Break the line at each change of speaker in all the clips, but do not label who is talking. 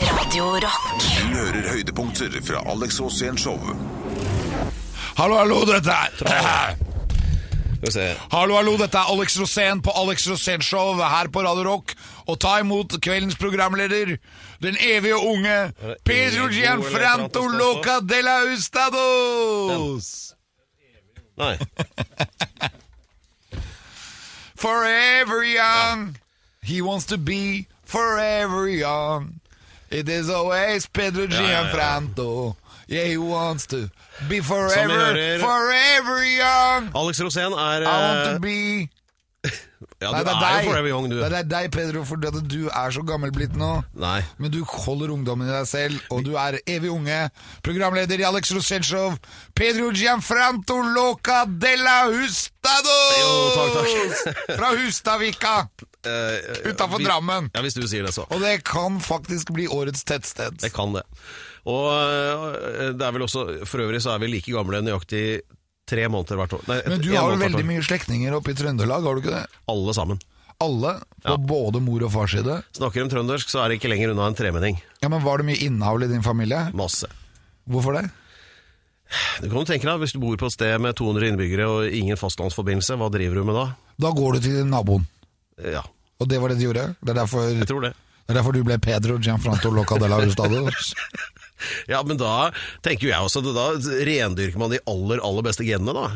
Radio Rock.
Du hører høydepunkter fra Alex Åsén Show.
Hallo, hallo, dette er
Skal vi se.
Hallo, hallo, dette er Alex Rosén på Alex Rosén Show her på Radio Rock. Og ta imot kveldens programleder, den evige unge Pedro Gianfranto Loca de la Ustados.
Nei.
Forever young. He wants to be forever young. It is always Pedro
ja, ja.
Gianfranto. Yeah, he wants to be
Som vi
forever,
hører-
forever young.
Alex Rosén
I
er eh,
want to be
Ja,
Nei,
du
det
er,
er deg.
jo forever young, du.
Det er deg, Pedro, fordi at du er så gammelblitt nå.
Nei.
Men du holder ungdommen i deg selv, og du er evig unge. Programleder i Alex Rosenshov, Pedro Gianfranto Loca de la Hustado!
Jo,
Fra Hustadvika,
Eh,
Utenfor
vi-
Drammen.
Ja, hvis du sier det, så.
og det kan faktisk bli årets tettsted.
Jeg kan det. Og eh, det er vel også For øvrig så er vi like gamle nøyaktig tre måneder hvert år. Nei, et-
Men du
en
har jo
måned hvert
veldig
år.
mye slektninger oppe i Trøndelag, har du ikke det?
Alle sammen.
Alle, på
Ja.
både mor og fars side.
Snakker om trøndersk, så er det ikke lenger unna en tremenning.
Ja, Men var det mye innavl i din familie?
Masse.
Hvorfor det?
Du kan jo tenke deg, Hvis du bor på et sted med 200 innbyggere og ingen fastlandsforbindelse, hva driver du med da?
Da går du til naboen,
Ja,
og det var det du gjorde? Det er derfor
jeg tror det.
Det er derfor du ble Pedro Gianfranto Loca de la Hurtados.
Ja, men da tenker jo jeg også Da rendyrker man de aller, aller beste genene, da.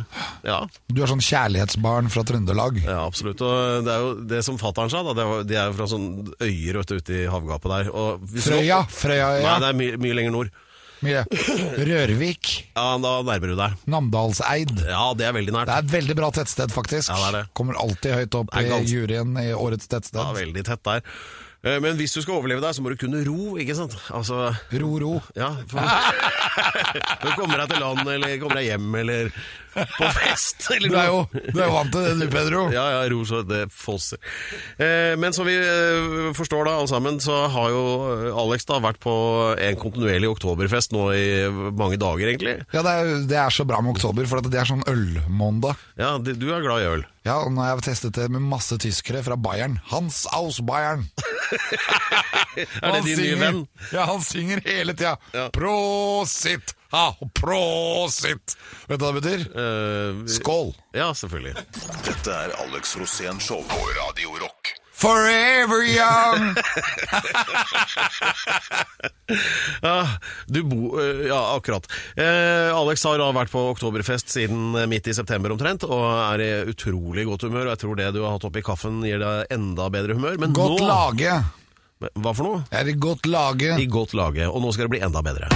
Ja,
Du er sånn kjærlighetsbarn fra Trøndelag.
ja absolutt. Og det er jo det som fatter'n sa, da. Det var, de er jo fra sånn øyer vet du, ute i havgapet der. Og hvis du-
Frøya, Frøya, ja.
Nei, det er mye, mye lenger nord.
Mye. Rørvik,
Ja, Da nærmer du deg.
Namdalseid.
Ja, det er veldig nært.
Det er et veldig bra tettsted, faktisk.
Ja, det er det.
Kommer alltid høyt opp
Det er
i
gans-
juryen i årets
Ja,
tettsted.
veldig tett der. Eh, Men hvis du skal overleve der, så må du kunne ro, ikke sant? Altså
Ro, ro.
ja, for Du kommer deg til land, eller kommer deg hjem, eller på fest. Eller
Du er jo, du er jo vant til det, du, Pedro.
Ja, ja, ro så det fosser. Eh, men som vi eh, forstår da, alle sammen, så har jo eh, Alex da vært på en kontinuerlig oktoberfest nå i eh, mange dager, egentlig.
Ja, det er, det er så bra med oktober, for at det er sånn ølmåndag.
Ja, det- du er glad i øl.
Ja, og nå har jeg testet det med masse tyskere fra Bayern. Hans aus Bayern.
Er det din nye venn?
Ja, han synger hele tida.
Ja.
Prosit! Ha, prosit! Vet du hva det betyr?
Eh,
Skål!
ja, selvfølgelig.
Dette er Alex Rosén Show på Radio Rock.
Forever young!
Ja, Ah, du bo, eh, ja akkurat. Eh, Alex har da vært på oktoberfest siden eh, midt i september omtrent, og er i utrolig godt humør. Og jeg tror det du har hatt oppi kaffen gir deg enda bedre humør. Men
Godt
nå
lage.
Hva for noe?
Jeg er i godt lage.
I godt lage. Og nå skal det bli enda bedre.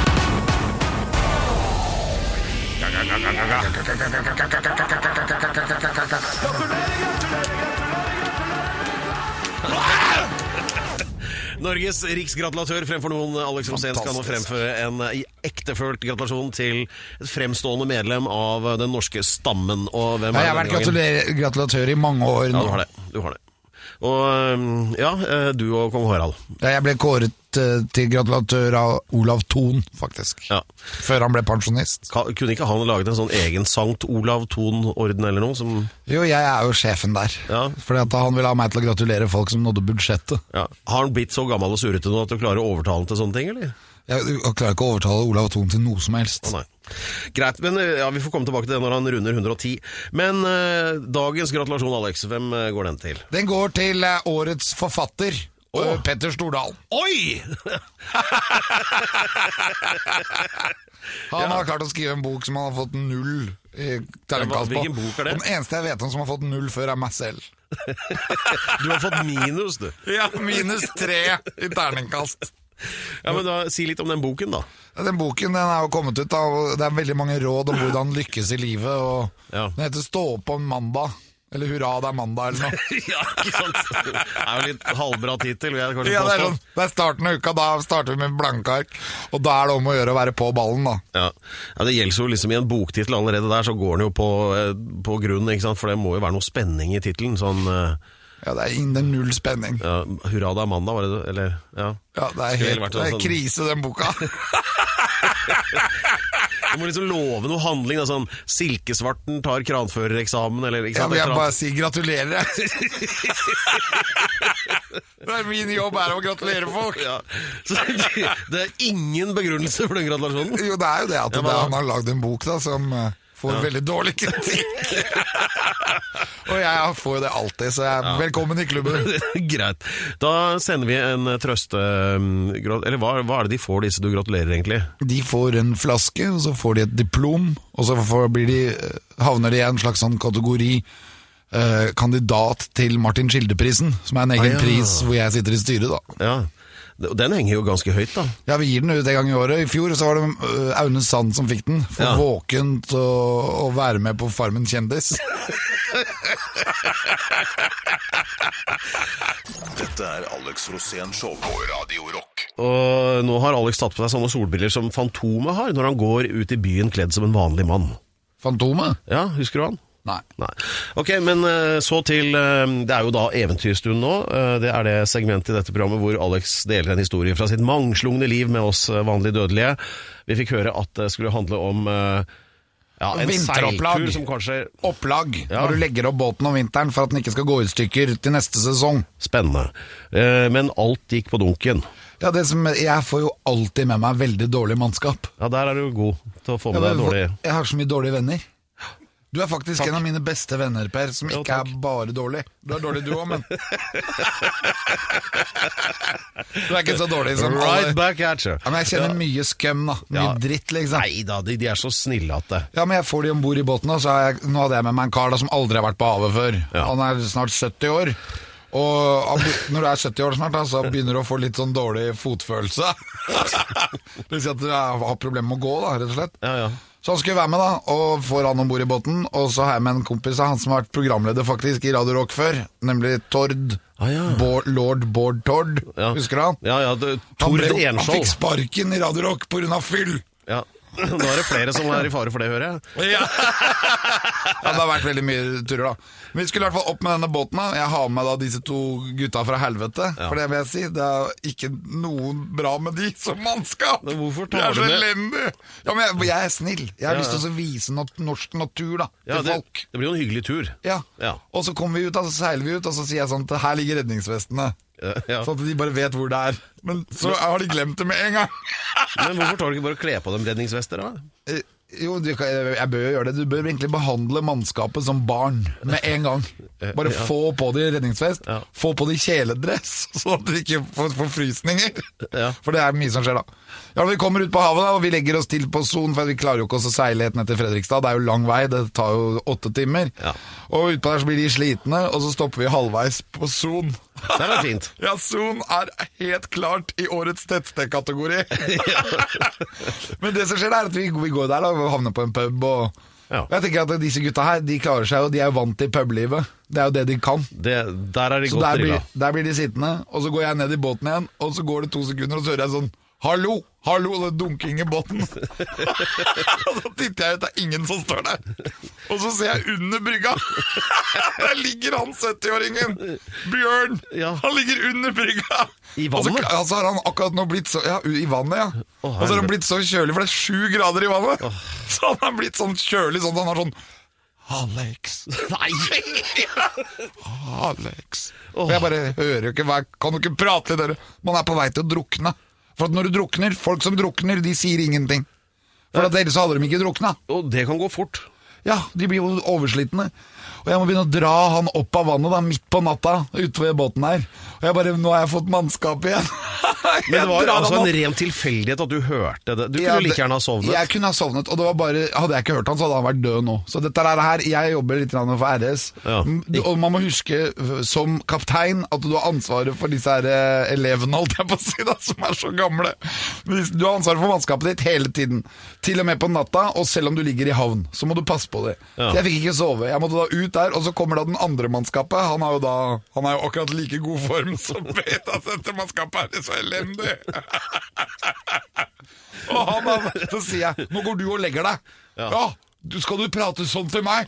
Norges riksgratulatør fremfor noen, Alex Rosén, skal nå
Fantastisk.
fremføre en eh, ektefølt gratulasjon til et fremstående medlem av eh, den norske stammen. Og hvem
Ja, jeg har
er det
vært
denne gangen?
gratulerer- gratulatør i mange år
Ja,
nå.
du har det. Du har det. Og eh, ja, eh, du og kong Harald.
Ja, jeg ble kåret eh, til gratulatør av Olav Thon, faktisk.
Ja.
Før han ble pensjonist.
Ka- Kunne ikke han laget en sånn egen Sankt Olav Thon-orden eller noe? Som,
Jo, jeg er jo sjefen der.
Ja.
Fordi at han ville ha meg til å gratulere folk som nådde budsjettet.
ja. Har han blitt så gammel og surrete nå at du klarer å overtale han til sånne ting, eller?
Jeg, jeg klarer ikke å overtale Olav Thon til noe som helst.
Å, nei. Greit, men eh, ja, vi får komme tilbake til det når han runder 110. Men eh, dagens gratulasjon, Alex, hvem eh, går den til?
Den går til eh, årets forfatter, eh, Petter Stordal.
Oi!
Han har klart å skrive en bok som han har fått null i
Ja, hva-
terningkast på.
hvilken bok er det?
Og den eneste jeg vet om som har fått null før, er meg selv.
Du har fått minus, du.
Minus tre i terningkast.
Ja, men da, Si litt om den boken, da.
Den boken den er jo kommet ut, da, og det er veldig mange råd om hvordan lykkes i livet. Og
Ja.
Den heter 'Stå opp om mandag', eller 'Hurra, det er mandag', eller noe.
Ja, ikke sant? Det er jo litt halvbra tittel, vil jeg kanskje
Ja, det, er
påstå.
sånn, det er starten av uka, da starter vi med blanke ark. Og da er det om å gjøre å være på ballen, da.
Ja. ja, Det gjelder jo liksom i en boktittel allerede der, så går den jo på, eh, på grunnen, ikke sant? for det må jo være noe spenning i tittelen. Sånn eh,
Ja, Det er innen null spenning.
ja, 'Hurra, det er mandag', var det det? Eller, ja.
Ja, Det
Skulle
er
vel sånn-
helt
vært
det
en
er
sånn-
krise, den boka.
Du må liksom love noe handling. Da, sånn Silkesvarten tar kranførereksamen, eller ikke
Ja,
sant?
men
et
jeg
eller
bare
annet.
sier gratulerer. Det er min jobb er å gratulere folk.
ja. Så, det er ingen begrunnelse for den gratulasjonen.
Jo, det er jo det at
Ja, men
det,
da-
han har lagd en bok da som eh, får veldig dårlig kritikk. og jeg får jo det alltid, så jeg, velkommen i klubben.
Greit. Da sender vi en eh, trøste... um, grat- Eller hva, hva er det de får, disse du gratulerer, egentlig?
De får en flaske, og så får de et diplom, og så får, blir de, eh, havner de i en slags sånn kategori eh, kandidat til Martin Skildeprisen, som er en egen
Ah, ja.
pris hvor jeg sitter i styret, da.
Ja. Den henger jo ganske høyt, da.
Ja, vi gir den ut en gang i året. I fjor så var det øh, Aune Sand som fikk den. For
Ja.
våkent å, å være med på Farmen kjendis.
Dette er Alex Rosén Show på Radio Rock.
Og nå har Alex tatt på seg sånne solbriller som Fantomet har når han går ut i byen kledd som en vanlig mann.
Fantomet?
Ja, husker du han?
Nei.
Nei. Ok, men eh, så til eh, Det er jo da eventyrstund nå. Eh, Det er det segmentet i dette programmet hvor Alex deler en historie fra sitt mangslungne liv med oss eh, vanlige dødelige. Vi fikk høre at det skulle handle om eh, ja, en
Vinteropplag.
seiltur som kanskje
Opplag.
Ja.
Når du legger opp båten om vinteren for at den ikke skal gå i stykker til neste sesong.
Spennende. Eh, Men alt gikk på dunken.
Ja, det som, Jeg får jo alltid med meg veldig dårlig mannskap.
Ja, der er du god til å få
Jeg,
med deg dårlig
jeg har så mye dårlige venner. Du er faktisk en av mine beste venner, Per, som
Jo,
ikke
takk.
er bare dårlig. Du er dårlig du òg, men Du er ikke så dårlig som
Right
alle.
back at you.
Ja, men jeg kjenner mye skum, da. Mye
Ja.
dritt, liksom.
Nei da, de, de er så snille at det
Ja, men jeg får de om bord i båten, og så har jeg, nå hadde jeg med meg en kar da, som aldri har vært på havet før.
Ja.
Han er snart 70 år. Og han be- når du er 70 år snart, da, så begynner du å få litt sånn dårlig fotfølelse. det vil si at du er- har problemer med å gå, da, rett og slett.
Ja, ja.
Så han skulle være med, da, og får han om bord i båten. Og så har jeg med en kompis av han som har vært programleder faktisk i Radio Rock før, nemlig Tord.
Ah, ja.
Bård- Lord Bård Tord.
ja.
Husker du han?
Ja, ja, det,
Han,
Tord
ble, jo- han
Enskjold.
fikk sparken i Radio Rock pga. fyll!
Ja. Nå er det flere som er i fare for det, hører jeg.
Ja, det har vært veldig mye turer da Men vi skulle i hvert fall opp med denne båten da Jeg har med da disse to gutta fra helvete For det vil jeg si Det er ikke noen bra med de som mannskap
Men hvorfor
De
tar
er
du
så
med-
elendig Ja, men jeg, jeg er snill Jeg har
Ja,
lyst til å vise nat norsk natur da Til
Ja, det,
folk
det blir jo en hyggelig tur.
ja.
Ja.
og så kommer vi ut, da, så seiler vi ut Og så sier jeg sånn, at her ligger redningsvestene
Ja.
Sånn at de bare vet hvor det er Men så har de glemt det med en gang
Men hvorfor tar du ikke bare å kle på dem redningsvester, da?
Eh, Jo, du, kan- jeg bør jo gjøre det. Du bør egentlig behandle mannskapet som barn med en gang. Bare få på de redningsvest,
Eh, Ja.
få på de kjeledress, sånn at de ikke får forfrysninger.
Ja.
For det er mye som skjer da. Ja, Vi kommer ut på havet da, og vi legger oss til på son, for vi klarer jo ikke også å seile helt ned til Fredrikstad. Det er jo lang vei, det tar jo åtte timer.
Ja.
Og utpå der så blir de slitne, og så stopper vi halvveis på son.
Det er fint.
Ja, Son er helt klart i årets tettstedkategori. Men det som skjer, er at vi, vi går der da, og havner på en pub. Og,
Ja.
og jeg tenker at Disse gutta her de klarer seg, og de er jo vant til publivet. Det er jo det de kan.
Det, der er de
Så
godt
der
drilla.
blir, der blir de sittende, og så går jeg ned i båten igjen, og så går det to sekunder, og så hører jeg sånn Hallo! Hallo! Det er dunking i båten. og så titter jeg ut, det er ingen som står der. Og så ser jeg under brygga. der ligger han 70-åringen! Bjørn!
Ja.
Han ligger under brygga!
I
Og så,
vannet?
ja, så har han akkurat nå blitt så Ja, u- i vannet, ja. og
Å,
så har
herre.
han blitt så kjølig, for det er sju grader i vannet. Så han har blitt sånn kjølig sånn at han har sånn Alex. Alex. Og jeg bare hører jo ikke hva Kan du ikke prate litt? dere? Man er på vei til å drukne. For at når du drukner Folk som drukner, de sier ingenting. For at ellers hadde de ikke drukna.
Og det kan gå fort.
Ja, de blir jo overslitne. Og jeg må begynne å dra han opp av vannet da, midt på natta ute ved båten her. Og jeg bare Nå har jeg fått mannskap igjen.
Men det
Jeg
var
drar
altså
han
en
opp.
ren tilfeldighet at du hørte det. Du
Ja,
kunne jo like gjerne ha sovnet.
Jeg kunne ha sovnet, og det var bare Hadde jeg ikke hørt han, så hadde han vært død nå. Så dette er det her Jeg jobber litt grann for RS.
Ja.
Mm, Og man må huske øh, som kaptein at du har ansvaret for disse her øh, elevene, holdt jeg på å si, da, som er så gamle. Hvis- Du har ansvaret for mannskapet ditt hele tiden. Til og med på natta, og selv om du ligger i havn, så må du passe på det.
Ja.
Så jeg fikk ikke sove. Jeg måtte da ut der, og så kommer da den andre mannskapet. Han er jo da Han er jo akkurat like god form som Beta. Dette mannskapet er det så elendig. Og han, han, så sier jeg 'nå går du og legger deg'. Ja, du, Skal du prate sånn til meg?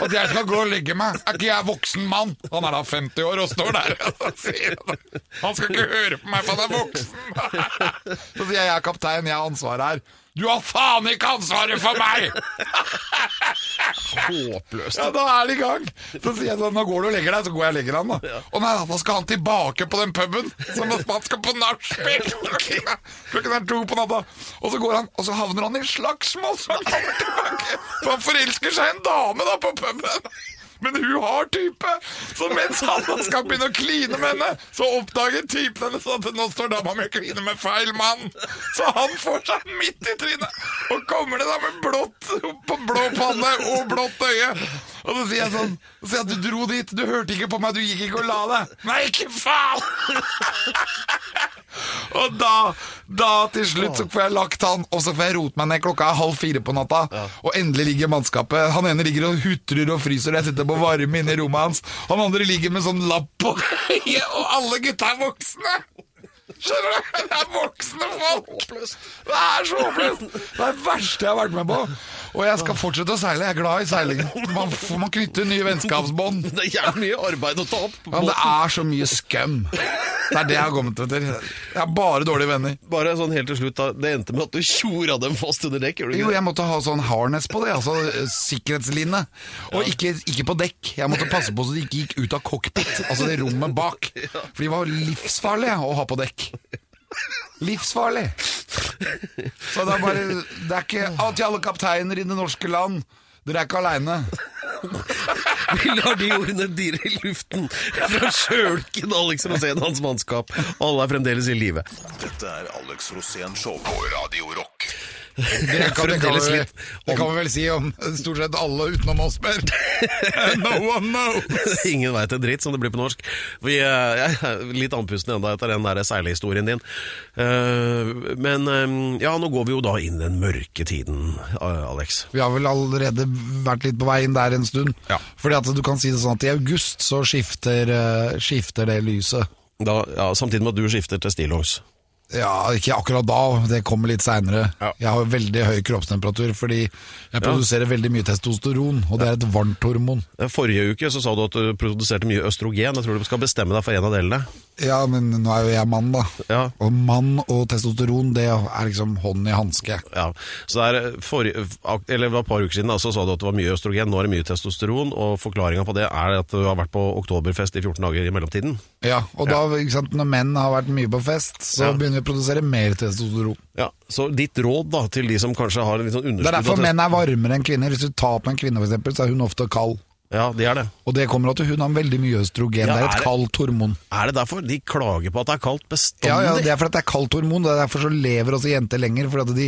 At jeg skal gå og legge meg? Er ikke jeg voksen mann? Han er da 50 år og står der og sier Han skal ikke høre på meg, for han er voksen! Så sier jeg jeg er kaptein, jeg har ansvaret her. Du har faen ikke ansvaret for meg!
Håpløst.
Ja, da er det i gang! Så sier jeg sånn, nå går du og legger deg, så går jeg og legger han da. Å nei, da skal han tilbake på den puben, som at man skal på nachspiel! Klokken er to på natta. Og så går han, og så havner han i slagsmål, så han kommer tilbake! For han forelsker seg i en dame da på puben! Men hun har type! Så mens han da skal begynne å kline med henne, så oppdager typen hennes at nå står dama mi og kliner med feil mann! Så han får seg midt i trynet! Og kommer det da med blått på blå panne og blått øye! Og så sier jeg sånn så sier jeg at du dro dit, du hørte ikke på meg, du gikk ikke og la deg! Nei, ikke faen! Og da, da til slutt så får jeg lagt han, og så får jeg rote meg ned. Klokka er halv fire på natta, og endelig ligger mannskapet. Han ene ligger og hutrer og fryser, og jeg sitter på varme inne i rommet hans. Han andre ligger med sånn lapp på øyet, og alle gutta er voksne! Skjønner du? Det er voksne folk! Det er så håpløst! Det er det verste jeg har vært med på. Og jeg skal fortsette å seile. Jeg er glad i seiling. Man, man knytter nye vennskapsbånd.
Det er jævlig mye arbeid å ta opp.
Ja, men det er så mye skøm. Det er det jeg har kommet etter. Jeg har bare dårlige venner.
Bare sånn helt til slutt, da. Det endte med at du tjora dem fast under dekk, gjorde du
Jo,
ikke det?
jeg måtte ha sånn harness på det, altså eh, sikkerhetsline. Og ikke, ikke på dekk. Jeg måtte passe på så det ikke gikk ut av cockpit, altså det rommet bak. For de var livsfarlige å ha på dekk. Livsfarlig. Så det er bare Det er ikke ah, til alle kapteiner i det norske land. Dere er ikke aleine.
Vi lar de ordene dirre i luften fra sjølken Alex Rosén og hans mannskap. Alle er fremdeles i live.
Dette er Alex Rosén Show på Radio Rock.
Det kan, det, kan
Fremdeles
vi, vel-
litt
det kan vi vel si om stort sett alle utenom oss, Per. No one knows.
Ingen veit en dritt, som det blir på norsk. Vi, eh, jeg er litt andpusten enda etter den der seilehistorien din. Eh, Men eh, ja, nå går vi jo da inn i den mørke tiden, eh, Alex.
Vi har vel allerede vært litt på vei inn der en stund.
Ja.
Fordi at du kan si det sånn at i august så skifter, eh, skifter det lyset.
Da, ja, samtidig med at du skifter til stillongs.
Ja, ikke akkurat da, det kommer litt seinere.
Ja.
Jeg har veldig høy kroppstemperatur fordi jeg produserer veldig mye testosteron, og det er et varmt hormon.
Eh, Forrige uke så sa du at du produserte mye østrogen. Jeg tror du skal bestemme deg for en av delene.
Ja, men nå er jo jeg mann, da.
Ja.
Og mann og testosteron, det er liksom hånd i hanske.
Ja, så det er for, eller det var et par uker siden da, så sa du at det var mye østrogen, nå er det mye testosteron, og forklaringa på det er at du har vært på oktoberfest i 14 dager i mellomtiden.
Ja, og da, ikke sant, når menn har vært mye på fest, så
Ja.
begynner vi å produsere mer testosteron.
Ja, Så ditt råd da, til de som kanskje har litt sånn
Det er
underskudd
derfor
av test-
menn er varmere enn kvinner. Hvis du tar på en kvinne, for eksempel, så er hun ofte kald.
Ja, det er det.
Og det kommer at hun har veldig mye østrogen. det
Ja,
er
er
et
det-
kaldt hormon.
Er det derfor? De klager på at det er kaldt bestandig.
Ja, ja, Det er fordi det er kaldt hormon. Det er derfor så lever også jenter lenger. Fordi at de,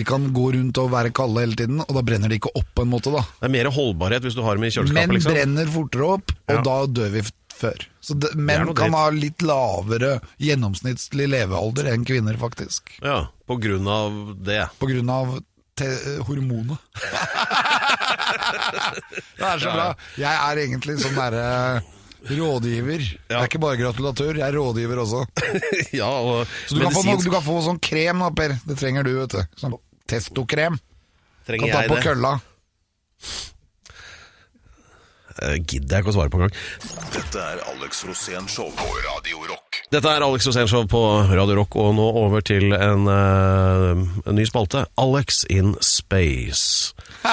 de kan gå rundt og være kalde hele tiden, og da brenner de ikke opp på en måte, da.
Det er mer holdbarhet hvis du har dem i
Menn
kjøleskapet, liksom.
brenner fortere opp, og
Ja.
da dør vi f- før. Så det,
er
menn
noe
kan
dritt.
ha litt lavere gjennomsnittlig levealder enn kvinner, faktisk.
Ja, på grunn av det.
På grunn av te hormonet. det er så bra. Jeg er egentlig sånn derre rådgiver. Det er ikke bare gratulatør, jeg er rådgiver også.
ja, og
Så du kan, få, noe- du kan få sånn krem da, Per. Det trenger du, vet du. Sånn testokrem. Kan
trenger
ta
jeg
på
det.
kølla.
Eh, Gidder jeg ikke å svare på engang.
Dette er Alex Rosén Show på Radio Rock.
Dette er Alex Rosénshow på Radio Rock, og nå over til en, eh, en ny spalte. Alex in space.
Det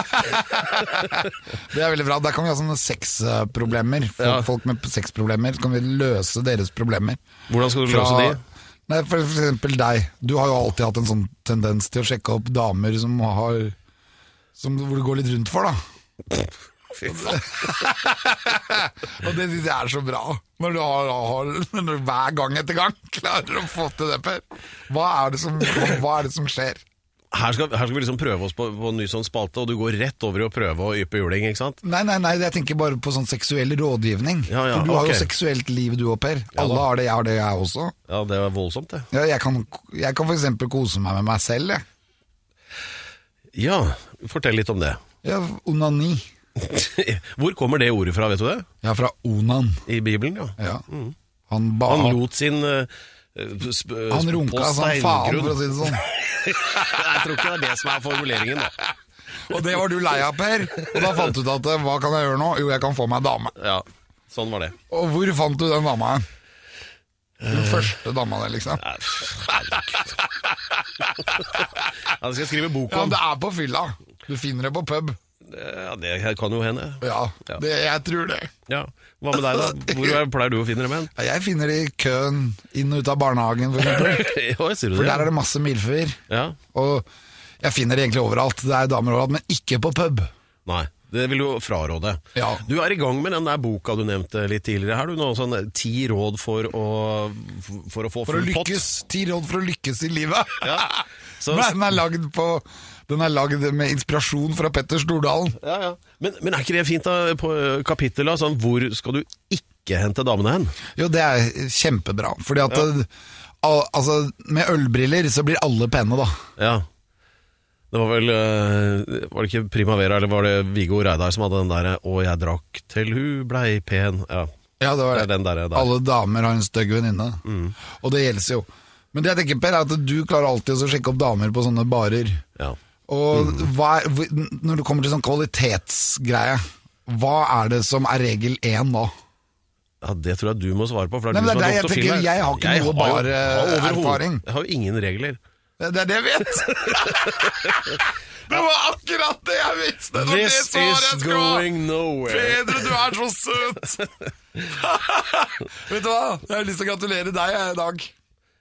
er veldig bra. Der kan vi ha sånne sexproblemer. Folk,
Ja.
folk med sexproblemer. Så kan vi løse deres problemer.
Hvordan skal du løse de?
Nei, for for eksempel deg. Du har jo alltid hatt en sånn tendens til å sjekke opp damer som har som, Hvor det går litt rundt for, da. Og det syns jeg er så bra. Når du har, har når du hver gang etter gang klarer å få til det, Per. Hva er det som, hva, hva er det som skjer?
Her skal, her skal vi liksom prøve oss på, på en ny sånn spalte, og du går rett over i å prøve å yppe juling, ikke sant?
Nei, nei, nei, jeg tenker bare på sånn seksuell rådgivning.
Ja, ja,
for du har
ok.
jo seksuelt liv du òg, Per.
da.
Alle har det, jeg har det, jeg også.
Ja, det er voldsomt, det.
Ja, jeg kan, jeg kan f.eks. kose meg med meg selv, jeg.
Ja, fortell litt om det.
Ja, onani.
Hvor kommer det ordet fra, vet du det?
Jeg er fra Onan.
I Bibelen, ja.
Ja. Han, ba,
Han
han,
lot sin eh, sp sp-
runka
på
som faen,
steingrunn.
for å si det sånn.
Jeg tror ikke det er det som er formuleringen, da.
Og det var du lei av, Per. Og da fant du ut at eh, hva kan jeg gjøre nå? Jo, jeg kan få meg dame.
Ja, sånn var det.
Og hvor fant du den dama hen? Den
Eh.
første dama der, liksom.
Nei, pff, herregud. Ja, det skal jeg skrive bok
Ja,
om.
det er på fylla. Du finner det på pub.
Ja, det kan jo hende.
Ja,
Ja.
det, jeg tror det.
Ja. Hva med deg, da? Hvor er- pleier du å finne dem hen?
Ja, Jeg finner det i køen inn og ut av barnehagen, for eksempel.
Oi, sier du
For
det?
der er det masse milfer.
Ja.
Og jeg finner det egentlig overalt. Det er damer overalt, men ikke på pub.
Nei, det vil jo fraråde.
Ja.
Du er i gang med den der boka du nevnte litt tidligere. Har du nå sånn ti råd for å, for å få
For å
full pott?
lykkes. Ti råd for å lykkes i livet.
Ja. Så-
Men den er lagd på Den er lagd med inspirasjon fra Petter Stordalen.
Ja, ja. Men, men er ikke det fint da, på eh, kapittelet? Sånn, hvor skal du ikke hente damene hen?
Jo, det er kjempebra. Fordi at det- al altså, med ølbriller så blir alle pene, da.
Ja. Det var vel eh, Var det ikke Primavera, eller var det Viggo Reidar som hadde den derre 'Å, jeg drakk til hun blei pen'? Ja.
Ja, det var det.
Det er den derre der.
Alle damer har en stygg venninne. Og det gjelder jo. Men det jeg tenker, Per, er at du klarer alltid å sjekke opp damer på sånne barer.
ja.
Og hva er, hvor- når det kommer til sånn kvalitetsgreie, hva er det som er regel én da?
Ja, Det tror jeg du må svare på. For
Nei,
du
men
som
det er
er
det
doktor
jeg tenker,
Phil her.
jeg har ikke noe
jo-
bare
har overhodet-
erfaring.
Jeg har jo ingen regler.
Det er det jeg vet! det var akkurat det jeg visste! Det var det
This
svaret jeg
is
skulle ha!
going nowhere.
Pedro, du er så søt! vet du hva? Jeg har lyst til å gratulere deg jeg, i dag.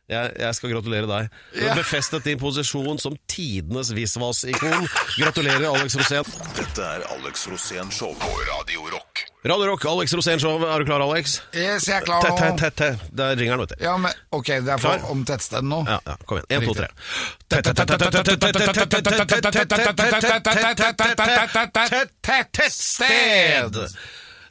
Jeg, jeg skal gratulere deg. Du
Ja.
har befestet din posisjon som tidenes visvas-ikon. Gratulerer, Alex Rosén.
Dette er Alex Rosén Show på Radio Rock.
Radio Rock, Alex Rosén-show. Er du klar, Alex?
Yes, jeg er klar
Tett, tett,
nå.
tett, tett. Der ringer den, vet du.
Ja, men, ok, det er
Klar.
for om tettstedet nå.
Ja, ja, kom igjen. Én, to, tre. Tettsted!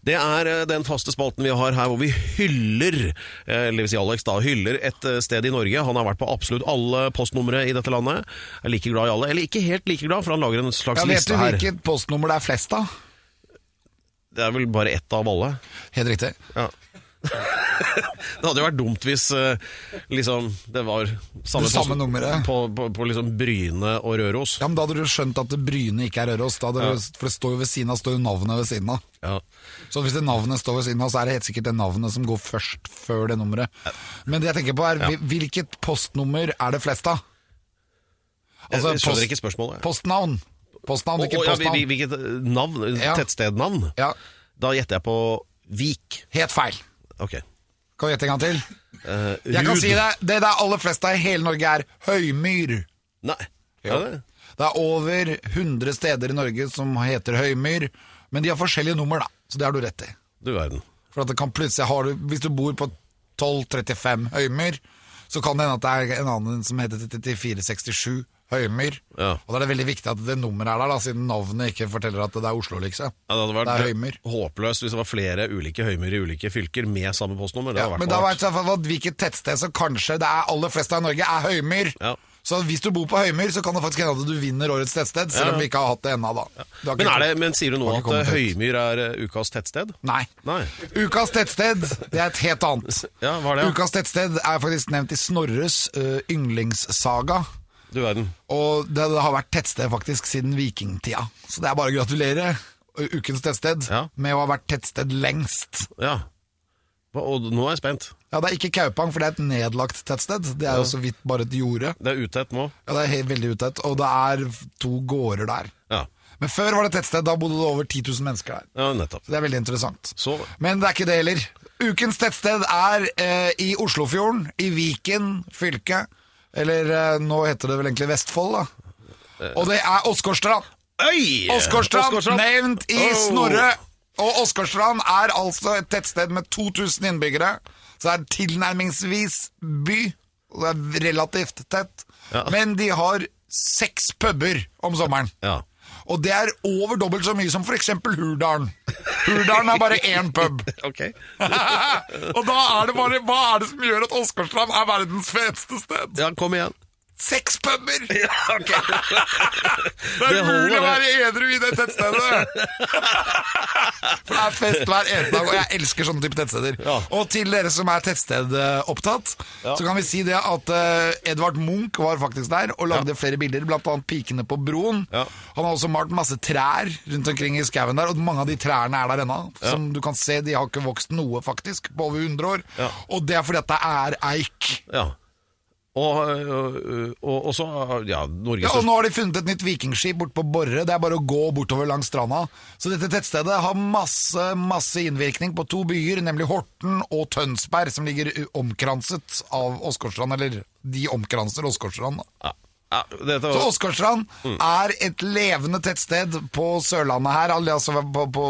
Det er eh, den faste spalten vi har her hvor vi hyller eh, Eller vil si Alex da hyller et eh, sted i Norge. Han har vært på absolutt alle postnumre i dette landet. Er like glad i alle. Eller ikke helt like glad, for han lager en slags
Ja, vet du
liste her.
hvilket postnummer det er flest av?
Det er vel bare ett av alle.
Helt riktig.
Ja. det hadde jo vært dumt hvis eh, liksom, det var samme,
Det samme
post-
nummeret.
på, på, på liksom Bryne og Røros.
Ja, men Da hadde du skjønt at Bryne ikke er Røros. Da hadde
Ja.
du, for det står jo ved siden av står jo navnet ved siden av.
Ja.
Så hvis det navnet står ved siden av, så er det helt sikkert det navnet som går først før det nummeret. Men det jeg tenker på er, hvil- hvilket postnummer er det flest av? Altså,
Jeg- jeg skjønner ikke spørsmålet.
Postnavn. Postnavn,
Og,
ikke
og, ja,
postnavn.
hvil- hvilket eh, navn?
Ja.
Tettstednavn?
Ja,
Da gjetter jeg på Vik.
Helt feil.
Ok.
Kan du gjette en gang til?
Eh,
Jeg kan
Rud.
si det. Det det er aller flest av i hele Norge, er Høymyr.
Nei.
Ja.
Er det?
Det er over 100 steder i Norge som heter Høymyr, men de har forskjellige nummer, da. Så det har du rett i.
Du verden.
For at det kan plutselig har du, Hvis du bor på 1235 Høymyr, så kan det hende at det er en annen som heter 3467 Høymyr.
Ja.
Og da er det veldig viktig at det nummeret er der, da, siden navnet ikke forteller at det er Oslo, liksom.
Ja, det hadde vært
Det er Høymyr.
håpløst hvis det var flere ulike høymer i ulike fylker med samme postnummer. Det
Ja,
hadde vært
men da
noe
vet du i hvert fall at hvilket tettsted som kanskje det er aller flest av i Norge, er Høymyr.
Ja.
Så hvis du bor på Høymyr, så kan det faktisk hende at du vinner årets tettsted, selv
Ja.
om vi ikke har hatt det ennå, da. Du har
men,
ikke-
er det, men sier du nå
Har
at
ikke
eh,
kommet ut.
Høymyr er eh, ukas tettsted?
Nei.
Nei.
Ukas tettsted, det er et helt annet.
Ja, hva er det, ja?
Ukas tettsted er faktisk nevnt i Snorres eh, yndlingssaga.
Du verden.
Og det, det har vært tettsted faktisk siden vikingtida. Så det er bare å gratulere eh, ukens tettsted
Ja.
med å ha vært tettsted lengst.
Ja. Hva- Og nå er jeg spent.
Ja, Det er ikke Kaupang, for det er et nedlagt tettsted. Det er jo så vidt bare et jorde.
Det er utett nå.
Ja, det er helt, veldig utett. Og det er to gårder der.
Ja,
Men før var det et tettsted. Da bodde det over 10 000 mennesker der.
ja nettopp.
Så det er veldig interessant.
Så-
Men det er ikke det heller. Ukens tettsted er eh, i Oslofjorden, i Viken fylke. Eller eh, nå heter det vel egentlig Vestfold, da.
Eh.
Og det er Åsgårdstrand.
Øy!
Åsgårdstrand, nevnt i
Oh.
Snorre. Og Åsgårdstrand er altså et tettsted med 2000 innbyggere. Så det er en tilnærmingsvis by. Og det er relativt tett.
Ja.
Men de har seks puber om sommeren.
Ja.
Og det er over dobbelt så mye som f.eks. Hurdalen. Hurdalen er bare én pub.
Ok.
og da er det bare Hva er det som gjør at Åsgårdstrand er verdens feteste sted?
Ja, kom igjen.
Seks pubber!
ok.
Det er
Det holder,
mulig å
det.
være edru i det tettstedet! For det er fest hver eneste dag, og jeg elsker sånne type tettsteder.
Ja.
Og til dere som er tettstedopptatt, så kan vi si det at eh, Edvard Munch var faktisk der og lagde flere bilder, blant annet Pikene på broen.
Ja.
Han har også malt masse trær rundt omkring i skauen der, og mange av de trærne er der ennå. Som du kan se, de har ikke vokst noe faktisk på over 100 år.
Ja.
Og det er fordi at det er eik.
Ja. Og, øh, og, og så ja, Norges
Ja, og
største
nå har de funnet et nytt vikingskip bort på Borre. Det er bare å gå bortover langs stranda. Så dette tettstedet har masse, masse innvirkning på to byer, nemlig Horten og Tønsberg, som ligger u- omkranset av Åsgårdstrand, eller de omkranser Åsgårdstrand. da.
ja. Ja, dette
Så
var,
Åsgårdstrand er et levende tettsted på Sørlandet her, alle altså på, på,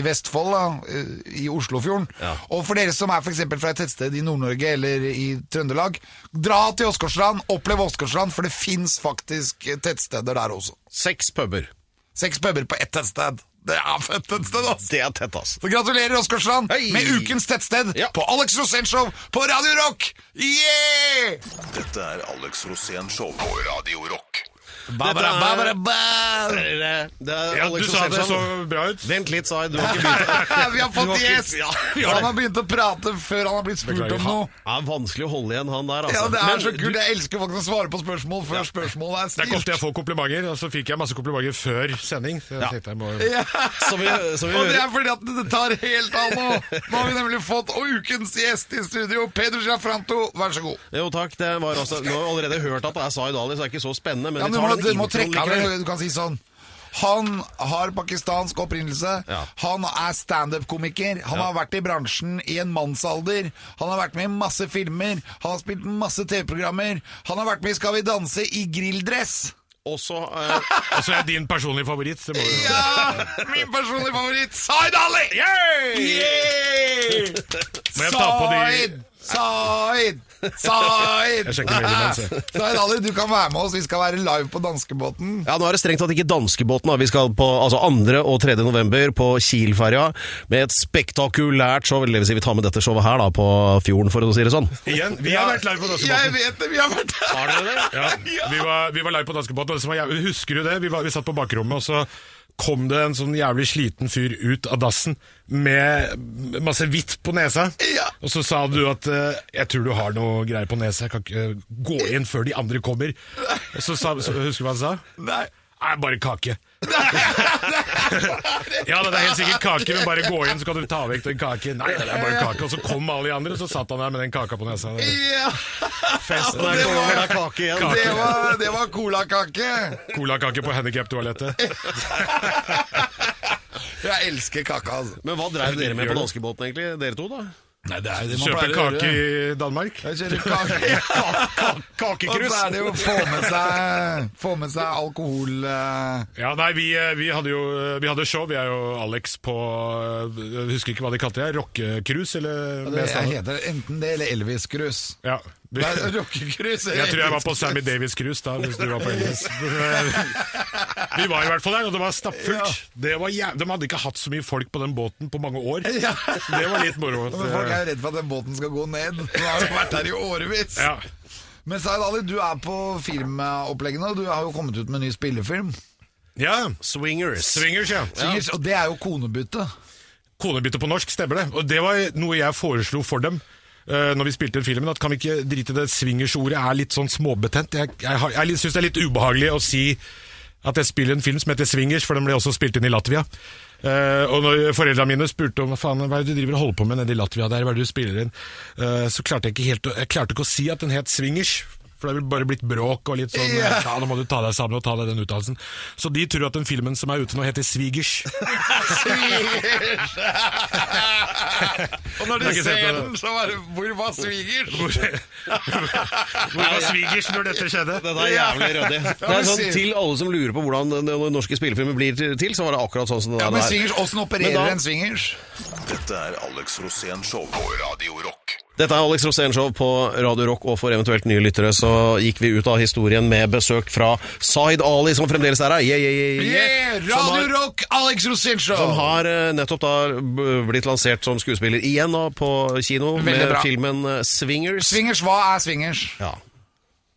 i Vestfold, da, eh, i Oslofjorden.
Ja.
Og for dere som er for eksempel fra et tettsted i Nord-Norge eller i Trøndelag, dra til Åsgårdstrand, opplev Åsgårdstrand, for det fins faktisk tettsteder der også.
seks puber.
Seks puber på ett tettsted. Det er fett tettsted, altså!
Det er tett, ass.
Så gratulerer Åsgårdstrand
Hei!
med ukens tettsted
Ja.
på Alex Rosén Show på Radio Rock! Yeah!
Dette er Alex Rosén Show på Radio Rock.
Babara, babara, ba.
Det er, det er
Ja,
Alex
du sa det
Rosenstrand.
så bra ut.
Vent litt, sa jeg. Du har ikke begynt.
Vi har
Du
fått
har ikke-
gjest!
Ja, vi har det.
Han har begynt å prate før han har blitt spurt
Beklager.
om noe.
Det er vanskelig å holde igjen han der, altså.
Ja, det er
Men
så
du-
kult. Jeg elsker folk som svarer på spørsmål før spørsmålet er
Det er ikke ofte jeg
stilt.
får komplimenter, og så fikk jeg masse komplimenter før sending. Så jeg tenkte jeg må...
Ja.
Som vi, som vi
Og det
hører.
er fordi at det tar helt av nå. Nå har vi nemlig fått ukens gjest i studio. Pedro Giafranto, vær så god.
Jo, takk. Det var altså, nå har jeg allerede hørt at det er Zaid Ali, så det er ikke så spennende.
Ja,
Men vi
men du
tar
må,
den
du må
introen
trekke av
likevel.
det. Du kan si sånn han har pakistansk opprinnelse.
Ja.
Han er standup-komiker. Han har vært i bransjen i en mannsalder. Han har vært med i masse filmer. Han har spilt masse TV-programmer. Han har vært med i Skal vi danse i grilldress.
Og så eh,
Og så er jeg din personlige favoritt. Det må du...
Ja! Min personlige favoritt, Zaid Ali! Yeah!
Må jeg ta på de-
Zaid! Zaid!
Jeg sjekker mailen hans, jeg.
Zaid Ali, du kan være med oss. Vi skal være live på danskebåten.
Ja, Nå er det strengt tatt ikke danskebåten. da. Vi skal på altså 2. og 3. november på Kielferja med et spektakulært show. Eller det vil si, vi tar med dette showet her da, på fjorden, for å si det sånn.
Igjen, vi har vært live på
Jeg
danskebåten.
vet det, vi har vært der.
Har dere det?
Ja, vi, var, vi var live på danskebåten, og det som var jævlig, husker du det? Vi, var, vi satt på bakrommet, og så kom det en sånn jævlig sliten fyr ut av dassen med masse hvitt på nesa.
Ja.
Og så sa du at eh, 'jeg tror du har noe greier på nesa, jeg kan ikke eh, gå inn før de andre kommer'. Og så, sa, så husker du hva han sa?
Nei.
Nei, bare kake. Ja, det er helt sikkert kake, men bare gå inn, så kan du ta vekk den kaken. Nei, det er bare kake. Og så kom alle de andre, og så satt han der med den kaka på nesa.
Ja.
Fest.
Der
Det
kommer
var-
det er kake igjen.
Det var, det var colakake.
Colakake på handikap-toalettet.
Jeg elsker kake, altså.
Men hva drev dere med på danskebåten, egentlig? Dere to, da?
Nei, det er det
Kjøpe kake i Danmark.
Jeg kjører kake. Og så er det jo å få med seg, få med seg alkohol eh,
Ja, nei, vi, eh, vi hadde jo eh, vi hadde show. Vi er jo Alex på eh, Jeg husker ikke hva de kalte det. Rockekrus, eller
Det
mer standard.
heter enten det eller Elvis-krus.
Ja. Vi,
Nei, Rockekrus eller
jeg tror jeg var på
Elvis-krus.
Sammy Davis-krus da, hvis du var på Elvis. Vi var i hvert fall der, og det var stappfullt. Det var jæv- De hadde ikke hatt så mye folk på den båten på mange år.
Ja.
Det var litt moro.
Men folk er jo redd for at den båten skal gå ned. Den har jo vært der i årevis.
Ja.
Men Zaid Ali, du er på firmaoppleggene, og du har jo kommet ut med en ny spillefilm.
ja.
Swingers.
Swingers, ja.
Sikkert, Og det er jo konebytte.
Konebytte på norsk, stemmer det. Og det var noe jeg foreslo for dem. eh, når vi spilte den filmen, at Kan vi ikke drite i det swingersordet? er litt sånn småbetent. Jeg, jeg, har- jeg syns det er litt ubehagelig å si at jeg spiller en film som heter Swingers, for den ble også spilt inn i Latvia. Eh, og når foreldrene mine spurte om faen, hva er det du driver og holder på med nede i Latvia, der, hva er det du spiller inn, Eh, så klarte jeg ikke helt å, jeg klarte ikke å si at den het Swingers. For det ville bare blitt bråk og litt sånn
Ja.
faen, Nå må du ta deg sammen og ta deg den utdannelsen. Så de tror at den filmen som er ute nå, heter Swigers.
Svigers! og når
Jeg har ikke sett det.
så bare Hvor var svigers?
Hvor, hvor var svigers når dette skjedde?
Dette er jævlig ryddig. Det er
men
sånn,
sier-
til alle som lurer på hvordan den den norske spillefilmen blir til, så var det akkurat sånn som det
Ja,
der
men
er.
svingers, Åssen opererer
Men da-
en svingers?
Dette er Alex Rosén Show på Radio Rock.
Dette er Alex Rosén Show på Radio Rock, og for eventuelt nye lyttere så gikk vi ut av historien med besøk fra Zaid Ali, som fremdeles er her. Yeah, yeah, yeah,
Yeah,
yeah. Som
Radio
har-
Rock, Alex Rosén Show!
Som har eh, nettopp da b- blitt lansert som skuespiller igjen da, på kino
Veldig
med
bra.
filmen eh, Swingers.
Swingers, hva er swingers?
Ja.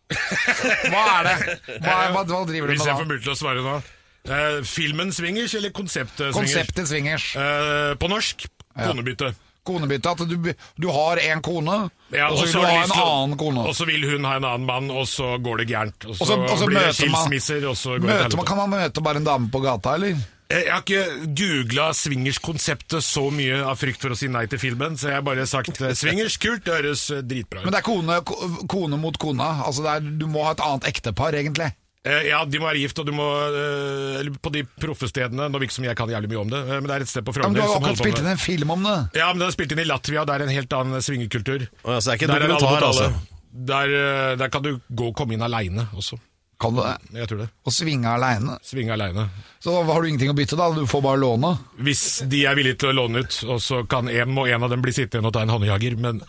Hva er det? Hva, er, hva, hva driver du
Hvis jeg får
med da?
mulighet til å svare nå. Eh, filmen Swingers, eller konseptet Swingers?
Konseptet swingers.
Eh, på norsk konebytte.
Konebytte. At du, du har en kone,
Ja,
og så vil
har
du ha
lyst
en
til å-
annen kone.
Og så vil hun ha en annen mann, og så går det gærent. Og så,
Og så- og så
blir det
møter man-
skilsmisser, og så går det
Møter
til
man,
helvete.
kan man møte bare en dame på gata, eller?
Eh, Jeg har ikke googla swingers-konseptet så mye av frykt for å si nei til filmen, så jeg har bare sagt eh, swingers, kult, det høres eh, dritbra
Men
ut.
det er kone, ko- kone mot kona. Altså det er, du må ha et annet ektepar, egentlig.
Eh, Ja, de må være gift, og du må eh, Eller på de proffestedene Nå virker det som jeg kan jævlig mye om det, eh, men det er et sted på
Ja, men du
Frogner
har jo
som
akkurat
holder på
spilt
med
inn en film om det.
Ja, men den er spilt inn i Latvia, det er en helt annen svingekultur.
Å, ja, så det er ikke en
Der alle-
dokumentar, altså.
Der, eh, der kan du gå og komme inn aleine også.
Kan du det?
Jeg tror det.
Å svinge aleine.
Svinge aleine.
Så da har du ingenting å bytte, da. Du får bare låne.
Hvis de er villige til å låne ut, og så kan en og en av dem bli sittende igjen og ta en håndjager, men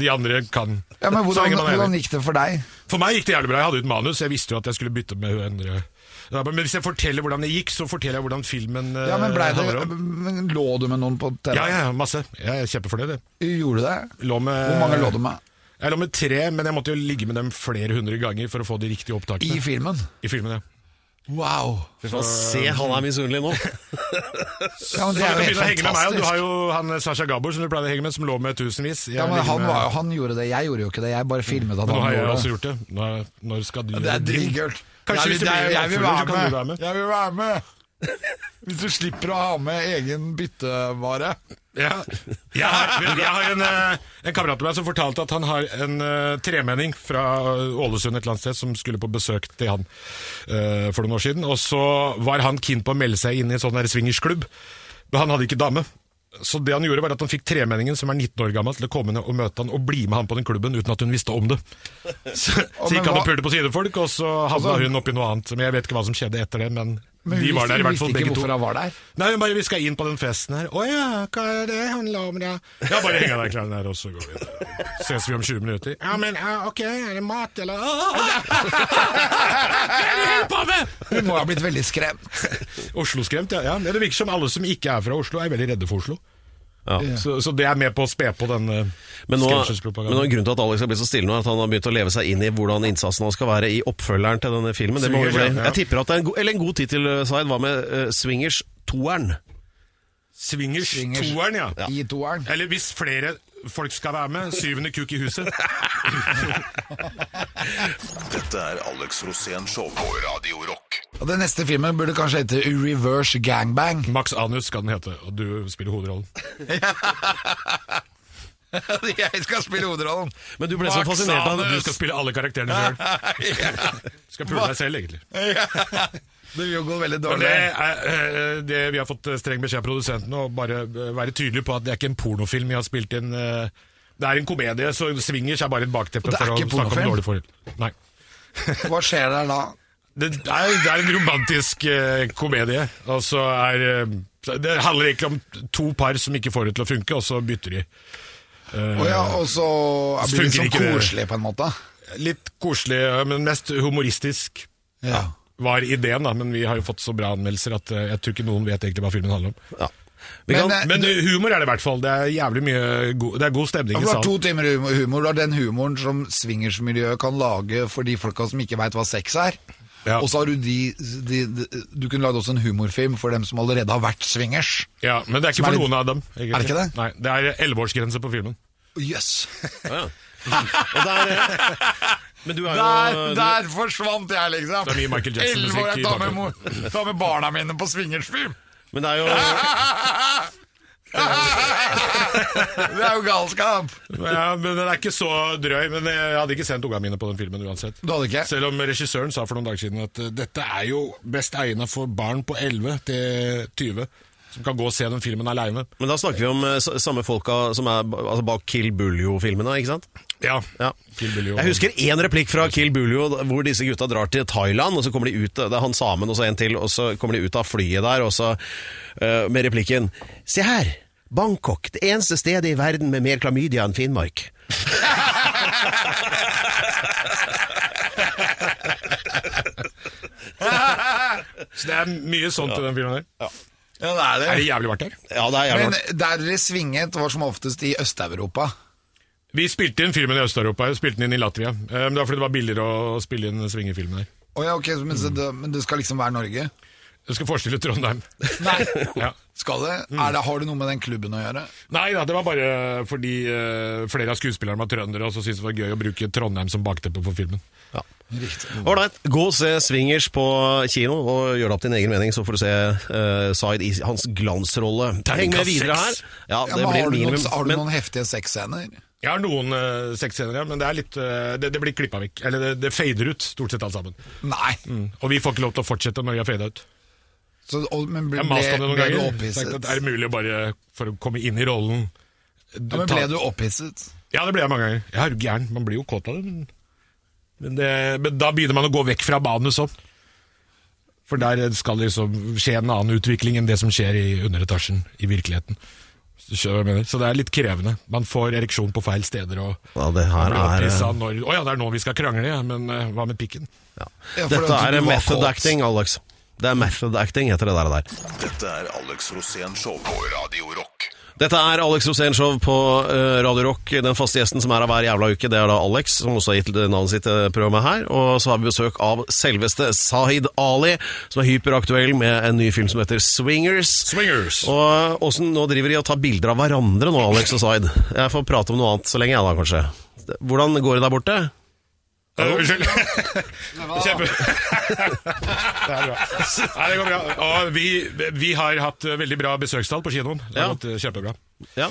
de andre kan
Ja, men
så
hvordan,
lenge man er
hvordan
enig.
gikk det for deg?
For meg gikk det jævlig bra. Jeg hadde jo et manus, jeg visste jo at jeg skulle bytte med hun andre. Ja, men hvis jeg forteller hvordan det gikk, så forteller jeg hvordan filmen eh,
Ja, men ble det,
handler om.
men Lå du med noen på TV?
Ja, ja, ja, masse. Jeg er kjempefornøyd. jeg.
Gjorde du det?
Lå med-
Hvor mange lå du med?
Jeg lå med tre, men jeg måtte jo ligge med dem flere hundre ganger for å få de riktige
I
opptakene.
filmen?
I filmen, ja.
Wow.
Fy faen, Se, han er misunnelig nå.
Ja, men det
Så du
er jo helt
kan begynne å henge med meg, og du har
fantastisk.
jo han eh, Sasha Gabor som du pleide å henge med, som lå med tusenvis. Jeg
Ja, men
ligger
han,
med-
var, han gjorde det, jeg gjorde jo ikke det. Jeg bare filmet at
Nå
han
har jeg også
gjorde det.
gjort det. Når, når skal du
Det
gjøre
er dritkult.
Kanskje
Jeg
hvis
vil-
det blir
jeg-
en
jeg vil
oppfølger, så kan du
være
være
med.
med.
Jeg vil være med. Hvis du slipper å ha med egen byttevare.
Ja. Jeg har, jeg har en, eh, en kamerat av meg som fortalte at han har en eh, tremenning fra eh, Ålesund et eller annet sted som skulle på besøk til han eh, for noen år siden. Og så var han keen på å melde seg inn i en sånn der swingersklubb, men han hadde ikke dame. Så det han gjorde var at han fikk tremenningen, som er 19 år gammel, til å komme ned og møte han og bli med han på den klubben uten at hun visste om det. Så, så
men
gikk han
hva- Altså-
og pulte på sidefolk, og så havna hun oppi noe annet. Men jeg vet ikke hva som skjedde etter det, men,
Men
de
hun
var
visste-
der i
hun
hvert fall
visste ikke
begge to.
hvorfor han var der.
Nei, hun bare vi skal inn på den festen her. Å ja, hva er det handla om da? Ja, bare heng av deg klærne der, og så går vi videre. Ses vi om 20 minutter. Ja, men ja, ok, er det mat, eller? Å, Hva er det du holder på med?
Hun må ha blitt veldig skremt.
Oslo-skremt, ja. ja. Men Det virker som alle som ikke er fra Oslo, er veldig redde for Oslo.
Ja.
Så, så det er med på å spe på den eh,
Men nå, men nå
skremselspropagandaen.
er Grunnen til at Alex har blitt så stille nå, er at han har begynt å leve seg inn i hvordan innsatsen han skal være i oppfølgeren til denne filmen. Det må jo bli.
Swingers, ja.
Jeg tipper at det er en, go eller en god tittel, Zaid. Hva med eh, Swingers toeren?
Swingers,
Swingers.
toeren, ja.
I toeren.
Eller hvis flere folk skal være med, syvende kuk i huset.
Dette er Alex Rosén Show på Radio Rock.
Og Den neste filmen burde kanskje hete Reverse Gangbang.
Max Anus skal den hete, og du spiller hovedrollen.
Jeg skal spille hovedrollen.
Men du ble så
Max
fascinert av
Du
det.
skal spille alle karakterene sjøl. Skal pule deg selv, egentlig.
Det vil jo gå veldig
Men
dårlig.
det, er, eh, det Vi har fått streng beskjed av produsenten å bare eh, være tydelig på at det er ikke en pornofilm vi har spilt inn. eh, Det er en komedie, så swingers er bare et bakteppe
Og det er
for å
ikke
snakke om
pornofilm?
dårlige forhold. Nei.
Hva skjer der da?
Det er, det er en romantisk eh, komedie, og så er eh, så Det handler egentlig om to par som ikke får det til å funke, og så bytter de.
Å ja, og så blir det
Funker
liksom
ikke det.
koselig på en måte.
Litt koselig, eh, men mest humoristisk
Ja.
var ideen, da, men vi har jo fått så bra anmeldelser at eh, jeg tror ikke noen vet egentlig hva filmen handler om.
Ja. Vi kan,
Men, eh,
Men humor er det i hvert fall. Det er jævlig mye god, det er god stemning
Du
i
har to
salen.
timer humor, humor. Du har den humoren som swingersmiljøet kan lage for de folka som ikke veit hva sex er.
Ja.
Og så har du de, de, de Du kunne lagd også en humorfilm for dem som allerede har vært swingers.
Ja, men det er ikke
Som er
for
litt-
noen av dem. Egentlig.
Er det ikke det?
Nei, det er elleveårsgrense på filmen.
Jøss! Yes.
ja. Og der, eh, men du er jo
Der,
du-
der forsvant jeg, liksom!
Det er mye Michael Jackson-musikk
Elleve år, jeg
i
tar med,
bakgrunnen.
mor- tar med barna mine på swingersfilm!
Men det er jo
Det er jo galskap!
Ja, men Den er ikke så drøy, men jeg hadde ikke sendt ungene mine på den filmen uansett.
Du hadde ikke?
Selv om regissøren sa for noen dager siden at eh, dette er jo best egnet for barn på 11 til 20, som kan gå og se den filmen aleine.
Men da snakker vi om eh, s- samme folka som er ba- altså bak Kill Buljo-filmene, ikke sant?
Ja.
Ja.
Kill Bill, jo.
Jeg husker én replikk fra Kill Buljo hvor disse gutta drar til Thailand, og så kommer de ut Det er han samen og så en til, og så kommer de ut av flyet der, og så eh, med replikken Se her! Bangkok, det eneste stedet i verden med mer klamydia enn Finnmark.
Så det er mye sånt i den filmen der.
Ja, det er det.
Er det jævlig varmt her?
Ja, det er jævla
Men der dere svinget var som oftest i Øst-Europa.
Vi spilte inn filmen i Øst-Europa. og Spilte den inn i Latvia. Eh, Men det var fordi det var billigere å spille inn swingerfilmen her.
Å ja, ok, så- men, så
Mm.
det, men det skal liksom være Norge?
Jeg skal forestille Trondheim.
Nei.
Ja.
Skal det? Er det? Har det noe med den klubben å gjøre?
Nei da, det var bare fordi eh, flere av skuespillerne var trøndere, og så syntes det var gøy å bruke Trondheim som bakteppe for filmen.
Ålreit, gå og se Swingers på kino, og gjør deg opp din egen mening, så får du se eh, Zaid i hans glansrolle. Heng med videre her.
seks.
Ja,
Ja, det
men
blir
har, du
minimum.
noen, har du
men-
noen heftige sexscener?
Jeg har noen uh, sexscener, ja, men det, er litt, eh, det, det blir klippa vekk. Eller det, det fader ut, stort sett alt sammen.
Nei.
Og vi får ikke lov til å fortsette når vi har fada ut.
Så, og, men ble,
Jeg
ble,
maste om det noen
ble du
ganger. Sagt
opphisset?
at er det mulig å bare for å komme inn i rollen
Ja, men ble du opphisset?
Ja, det ble jeg mange ganger. Jeg er jo gæren. Man blir jo kåt av det. Men, men, det, men da begynner man å gå vekk fra manus òg. For der skal det liksom skje en annen utvikling enn det som skjer i underetasjen i virkeligheten. Så, skjønner du hva jeg mener? så det er litt krevende. Man får ereksjon på feil steder og
Ja, det
man
her
blir
er eh,
opphisset når Å ja, det er nå vi skal krangle, ja, men eh, hva med pikken?
ja.
Ja, for at du
Dette er
var
method
kåt.
acting, Alex. Det er method acting, heter det der. og der.
Dette er Alex Rosén Show på Radio Rock.
Dette er Alex Rosén Show på eh, Radio Rock. Den faste gjesten som er her hver jævla uke, det er da Alex, som også har gitt navnet sitt til programmet her. Og så har vi besøk av selveste Zahid Ali, som er hyperaktuell med en ny film som heter Swingers.
Swingers.
Og åssen nå driver de og tar bilder av hverandre nå, Alex og Zahid. Jeg får prate om noe annet så lenge, jeg da, kanskje. Hvordan går det der borte?
Eh, Unnskyld. Kjempe. det er bra. Nei, det går bra. Og vi, vi har hatt eh, veldig bra besøkstall på kinoen. Det har
Ja.
gått eh, kjempebra.
Ja.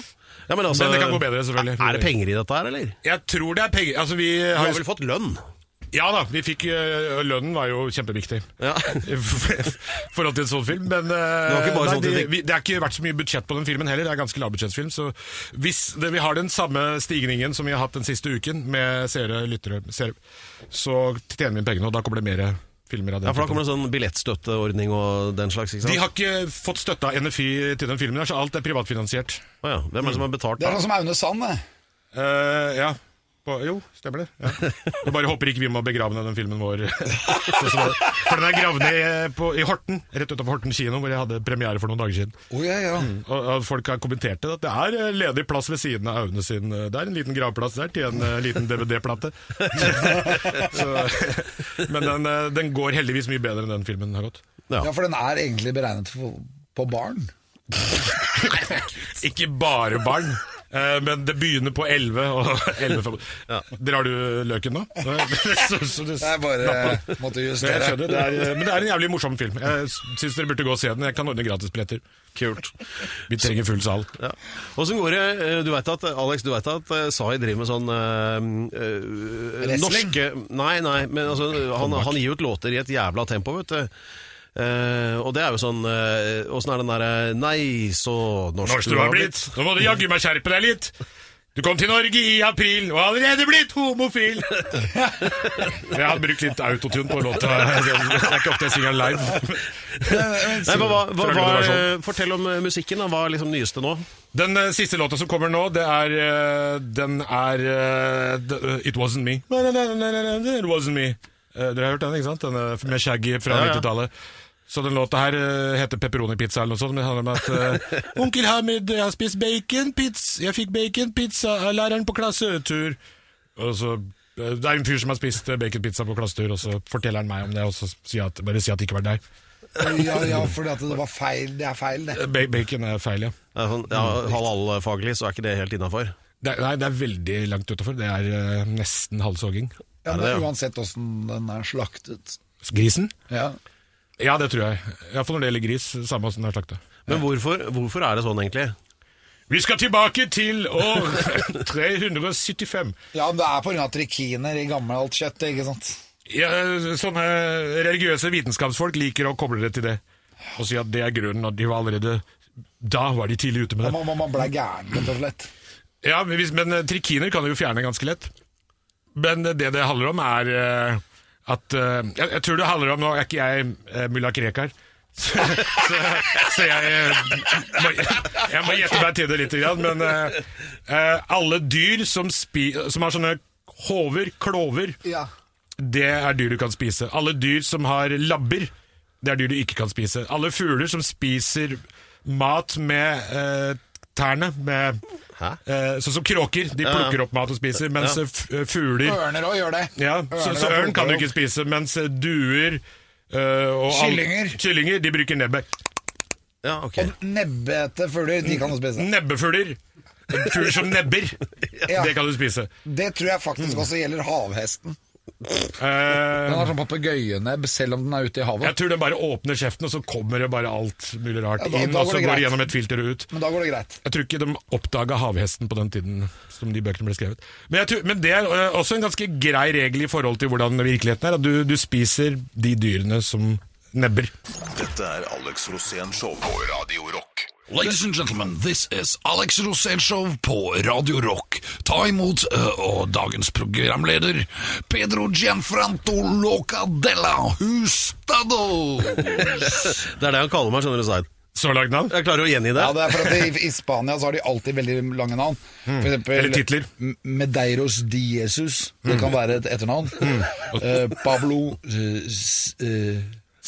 ja men, altså,
Men det kan gå bedre, selvfølgelig.
Er det penger i dette her, eller?
Jeg tror det er penger Altså, vi
Du
har
har
jo
vel fått lønn?
Ja da, vi fikk eh, Lønnen var jo kjempeviktig.
Ja.
I forhold til en sånn film, men eh,
Det var ikke bare
nei,
sånn
det,
du fikk-
vi, det har ikke vært så mye budsjett på den filmen heller. Det er en ganske lavbudsjettsfilm. Så hvis det, vi har den samme stigningen som vi har hatt den siste uken med seere, lyttere, seere, så tjener vi inn pengene, og da kommer det mer filmer av den.
Ja, for da
typen.
kommer det sånn billettstøtteordning og den slags, ikke sant?
De har ikke fått støtta NFI til den filmen, her, så alt er privatfinansiert.
Å ja. Hvem er det som har betalt?
Det er
da?
sånn som Aune Sand, det.
Eh, ja. På, jo, stemmer det. Ja. Jeg bare håper ikke vi må begrave ned den filmen vår. Sånn som det- For den er gravd ned eh, på, i Horten, rett utenfor Horten kino, hvor jeg hadde premiere for noen dager siden.
Oh, ja, ja.
Og, og Folk har kommentert det, at det er eh, ledig plass ved siden av Aune sin eh, Det er en liten gravplass der til en eh, liten DVD-plate. Så- Men den, eh, den går heldigvis mye bedre enn den filmen har gått.
Ja.
Ja, for den er egentlig beregnet for, på barn.
Ikke bare barn, eh, men det begynner på 11. Og 11 for... Drar du løken nå? så, så det,
Jeg bare måtte
Men jeg
justere.
skjønner, det er, eh, men det er en jævlig morsom film. Jeg syns dere burde gå og se den. Jeg kan ordne gratisbilletter.
Kult.
Vi trenger full sal.
Ja. Åssen går det eh, Du vet at eh, Alex, du vet at eh, Sai driver med sånn eh, eh,
Wrestling?
Norske Nei, nei, men altså, han, han gir ut låter i et jævla tempo, vet du. Eh, og det er jo sånn Åssen er den derre Nei, så norsk,
Norsk du har blitt, nå må du jaggu meg skjerpe deg litt. Du kom til Norge i april og har allerede blitt homofil. Jeg har brukt litt autotune på låta. Det er ikke ofte jeg synger den live.
Nei, men hva, hva,
Føler du
hva,
det var sånn?
eh, fortell om eh, musikken. da Hva er liksom nyeste nå?
Den eh, siste låta som kommer nå, det er eh, Den er eh, d- eh, It Wasn't Me. Na, na, na, na, na, na, It Wasn't Me. Eh, dere har hørt den, ikke sant? Den eh, med Shaggy fra
Ja, ja.
90-tallet. Så den låta her eh, heter Pepperoni-pizza eller noe sånt, men det handler om at eh, Onkel Hamid, jeg har spist bacon, pizza, jeg fikk bacon, pizza av læreren på klassetur. Og så eh, det er en fyr som har spist eh, baconpizza på klassetur, og så forteller han meg om det, og så sier jeg at, bare si at det ikke var deg.
Ja, ja, for det var feil. Det er feil, det.
Eh, ba- Bacon er feil, ja.
Det er Sånn, ja, Halal-faglig så er ikke det helt innafor.
Det er, nei, det er veldig langt utafor. Det er eh, nesten halshogging.
Ja,
Er det
men
det, ja?
Uansett åssen den er slaktet.
Grisen?
Ja.
Ja, det tror jeg. Iallfall når det gjelder gris. Samme åssen det er slakta.
Men hvorfor, hvorfor er det sånn, egentlig?
Vi skal tilbake til år 375.
ja, men det er på grunn av trikiner i gammelt kjøtt, ikke sant?
Ja, sånne religiøse vitenskapsfolk liker å koble det til det. Og si at det er grunnen, og de var allerede da var de tidlig ute med det.
Man, man, man ble gæren, rett og slett.
Ja, men hvis, Men eh, trikiner kan du jo fjerne ganske lett. Men eh, det det handler om, er eh, at eh, jeg, jeg tror det handler om Nå er ikke jeg eh, mulla Krekar. Så, så, så jeg, eh, må, jeg må gjette meg til det litt, grann, men eh, eh, alle dyr som, spi, som har sånne hover, klover,
Ja.
det er dyr du kan spise. Alle dyr som har labber, det er dyr du ikke kan spise. Alle fugler som spiser mat med eh, tærne med
Hæ?
eh, Sånn som kråker. De
ja.
plukker opp mat og spiser. Mens
Ja.
eh, f- eh, fugler
Ørner òg gjør det.
Ja, så,
Ørner
så
og
ørn kan du
plukker
ikke spise, mens eh, duer eh, og all-
Kyllinger.
Kyllinger, de bruker nebbet.
Ja, ok.
Og nebbete fugler, de kan du spise.
Nebbefugler. Fugler som nebber.
Ja.
Det kan du spise.
Det tror jeg
Mm.
faktisk også gjelder havhesten.
Eh,
Den har sånn papegøyenebb selv om den er ute i
jeg
havet.
tror den bare åpner kjeften, og så kommer det bare alt mulig rart
Ja, da-
inn,
da
og
går
så
det
går
greit.
det gjennom et filter og ut.
Men da går det greit.
Jeg tror ikke de oppdaga havhesten på den tiden som de bøkene ble skrevet. Men, jeg tror, men det er øh, også en ganske grei regel i forhold til hvordan virkeligheten er. At du, du spiser de dyrene som nebber.
Dette er Alex Rosén Show på Radio Rock.
Ladies and gentlemen, this is Alex Rosénshow på Radio Rock. Ta imot eh, og dagens programleder Pedro Gianfranto Locadella Hustado.
Det er det han kaller meg, skjønner du, Svein.
Så langt navn.
Jeg klarer å gjengi det.
Ja, det er for at i, I Spania så har de alltid veldig lange navn. For eksempel,
Mm. Eller titler. Mm.
M- Medeiros de Jesus. Det kan være et etternavn. Eh, Pablo eh, s- eh,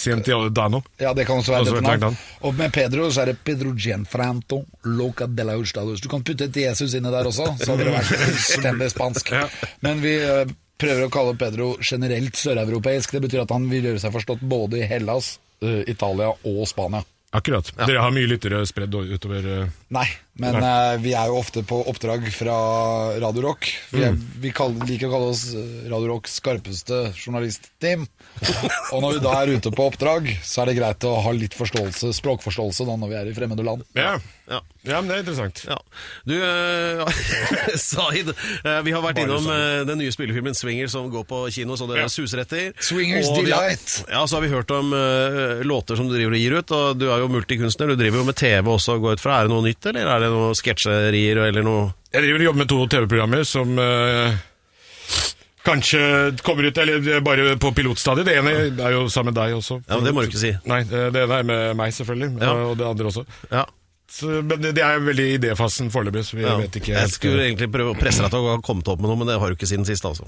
Cientiodano.
Ja, det kan også være
Også
et
et
etternavn.
etternavn.
Og med Pedro så er det Pedro Gianfranto Loca de la Hurstados. Du kan putte et Jesus inni der også, så hadde det vært fullstendig spansk.
Ja.
Men vi eh, prøver å kalle Pedro generelt søreuropeisk. Det betyr at han vil gjøre seg forstått både i Hellas, eh, Italia og Spania.
Akkurat. Dere har mye lyttere spredd utover øh,
Nei, men eh, vi er jo ofte på oppdrag fra Radio Rock. Vi, er,
Mm.
vi kall- liker å kalle oss eh, Radio Rocks skarpeste journalistteam. Og når vi da er ute på oppdrag, så er det greit å ha litt forståelse, språkforståelse da, når vi er i fremmede land.
ja.
Ja.
ja, men det er interessant.
Ja. Du, uh, Zaid, eh, vi har vært innom eh, den nye spillefilmen 'Swinger' som går på kino, så det
Ja.
suser etter.
Swingers
vi har-
Delight.
Ja, så har vi hørt om eh, låter som du driver og gir ut, og du er jo multikunstner. Du driver jo med TV også, går jeg ut fra. Er det noe nytt, eller er det noe sketsjerier eller noe
Jeg driver og jobber med to TV-programmer som øh, kanskje kommer ut Eller eh, bare på pilotstadiet. Det ene er jo sammen med deg også.
Ja, men det må du ikke si.
Nei, det det ene er med meg, selvfølgelig.
Ja.
Og det andre også.
Ja.
Så, Eh, men det, det er veldig i idéfasen foreløpig, så vi
ja.
vet ikke
jeg
helt,
skulle
eh,
egentlig prøve å presse deg til å ha kommet opp med noe, men det har du ikke siden sist, altså.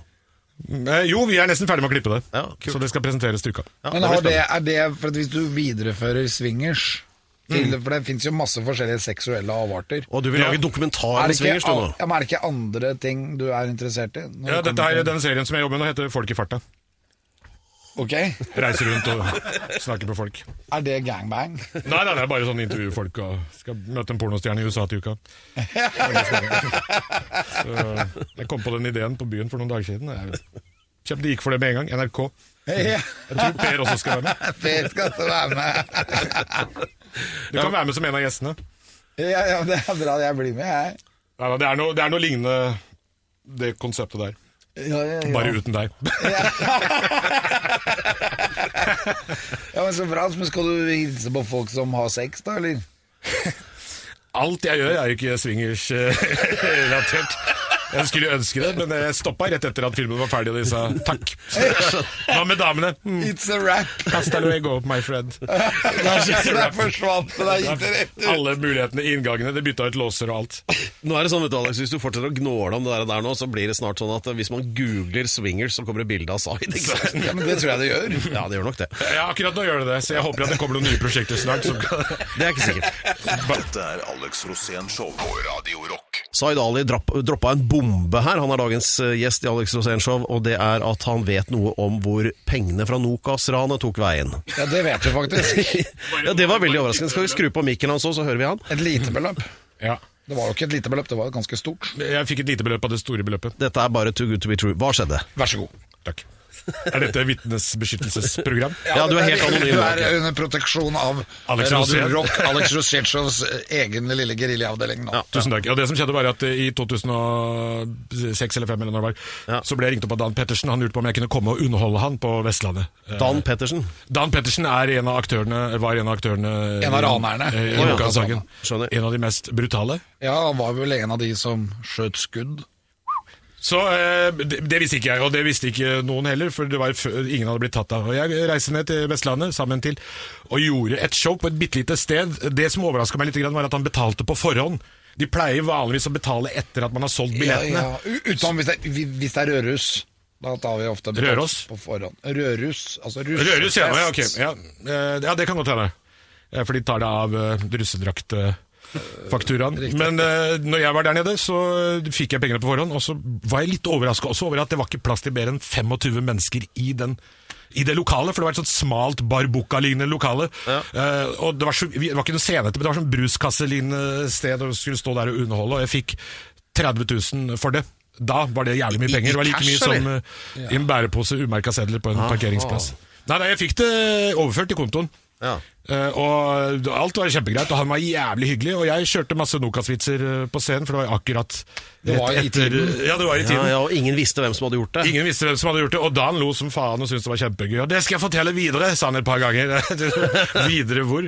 eh, Jo, vi er nesten ferdig med å klippe det,
Ja, kult.
så det skal presenteres til uka.
Ja,
Men
det blir
har det,
spennende.
er det for at hvis du viderefører swingers til, For det fins jo masse forskjellige seksuelle avarter.
Mm. Og du vil lage
Ja.
Er
dokumentar om
det, ikke,
swingers, du nå?
ja, men er det ikke andre ting du er interessert i? når
Ja,
det
dette
kommer
er
til-
Den serien som jeg jobber med nå, heter Folk i farta.
Ok,
Reiser rundt og snakker med folk.
Er det gangbang?
Nei, nei, det er bare sånn intervjufolk og skal møte en pornostjerne i USA til uka. Så jeg kom på den ideen på byen for noen dager siden. Jeg kjøpte gikk for det med en gang. NRK.
Ja,
Jeg tror Per også skal være med.
Per skal også være med.
Du kan være med som en av gjestene.
Ja, ja, det er bra. Jeg blir med, jeg.
Nei, nei, det, er noe, det er noe lignende det konseptet der.
Ja, ja, ja.
Bare uten deg.
ja, men så bra. Men skal du hilse på folk som har sex, da, eller?
Alt jeg gjør er jo ikke swingers-relatert. Jeg skulle ønske det, men jeg stoppa rett etter at filmen var ferdig, og de sa takk. Hva med damene? Mm.
It's a wrap!
Hasta luego, my friend.
Der forsvant det, der gikk det rett ut.
Alle mulighetene, inngangene, det bytta ut låser og alt.
Nå er det sånn, vet du, Alex, Hvis du fortsetter å gnåle om det der, der nå, så blir det snart sånn at eh, hvis man googler swingers, så kommer det bilde av Zaid. ikke sant?
Ja, men det tror jeg det gjør.
Ja, det gjør nok det.
Ja, akkurat nå gjør det det, så jeg håper at det kommer noen nye prosjekter snart. Som kan...
Det er ikke sikkert.
Dette er Alex Rosén Show på Radio Rock.
Zaid Ali drapp, droppa en bombe her. Han er dagens eh, gjest i Alex Rosén Show, og det er at han vet noe om hvor pengene fra Nokas-ranet tok veien.
Ja, det vet du faktisk.
Ja, Det var veldig overraskende. Skal vi skru på mikken hans òg, så hører vi han?
Et lite beløp.
Ja.
Det var jo ikke et lite beløp, det var et ganske stort.
Jeg fikk et lite beløp av det store beløpet.
Dette er bare too good to be true. Hva skjedde?
Vær så god.
Takk. Er dette vitnesbeskyttelsesprogram?
Ja, du er helt anonym.
Du
nå,
er
ikke?
under proteksjon av
Alex
Radio
Rosén.
Rock, Alex Rosénshows egen lille geriljaavdeling nå.
Tusen takk. Og det som skjedde var at eh, i 2006 eller 2005 eller når det var,
Ja.
så ble jeg ringt opp av Dan Pettersen. Han lurte på om jeg kunne komme og underholde han på Vestlandet. Eh,
Dan Pettersen.
Dan Pettersen er en av aktørene, var en av aktørene
En av ranerne.
eh, i
Å, ja.
Nokas-saken.
Skjønner.
En av de mest brutale.
Ja, han var vel en av de som skjøt skudd.
Så eh, det, det visste ikke jeg, og det visste ikke noen heller, for det var før, ingen hadde blitt tatt av. Og jeg reiste ned til Vestlandet sammen til og gjorde et show på et bitte lite sted. Det som overraska meg litt, grann, var at han betalte på forhånd. De pleier vanligvis å betale etter at man har solgt billettene.
Ja, ja. U- Utenom hvis det, er- vi- hvis det er Røros. Da tar vi ofte betalt
Røros?
på forhånd. Rørus. Altså russ.
Røros, ja, ja, ok. ja. Eh, ja, det kan godt hende. Eh, For de tar det av eh, russedrakt... eh, fakturaen. Men eh, når jeg var der nede, så eh, fikk jeg pengene på forhånd. Og så var jeg litt overraska også over at det var ikke plass til mer enn 25 mennesker i den. I det lokalet, for det var et sånt smalt barbukka-lignende lokale. Eh, og det var, så, vi- det var ikke noe scene etter, men det var sånn bruskasse-lignende sted, og vi skulle stå der og underholde, og jeg fikk 30 000 for det. Da var det jævlig mye penger. Det var like
cash,
mye som eh, i en bærepose umerka sedler på en parkeringsplass. Nei, nei, jeg fikk det overført til kontoen.
Ja.
Eh, og alt var kjempegreit, og han var jævlig hyggelig. Og jeg kjørte masse Nokas-vitser eh, på scenen, for det var akkurat
Det var i tiden.
Ja, det var i
Ja,
tiden.
ja, og ingen visste hvem som hadde gjort det.
Ingen visste hvem som hadde gjort det, og Dan lo som faen og syntes det var kjempegøy. Og det skal jeg fortelle videre, sa han et par ganger. videre hvor?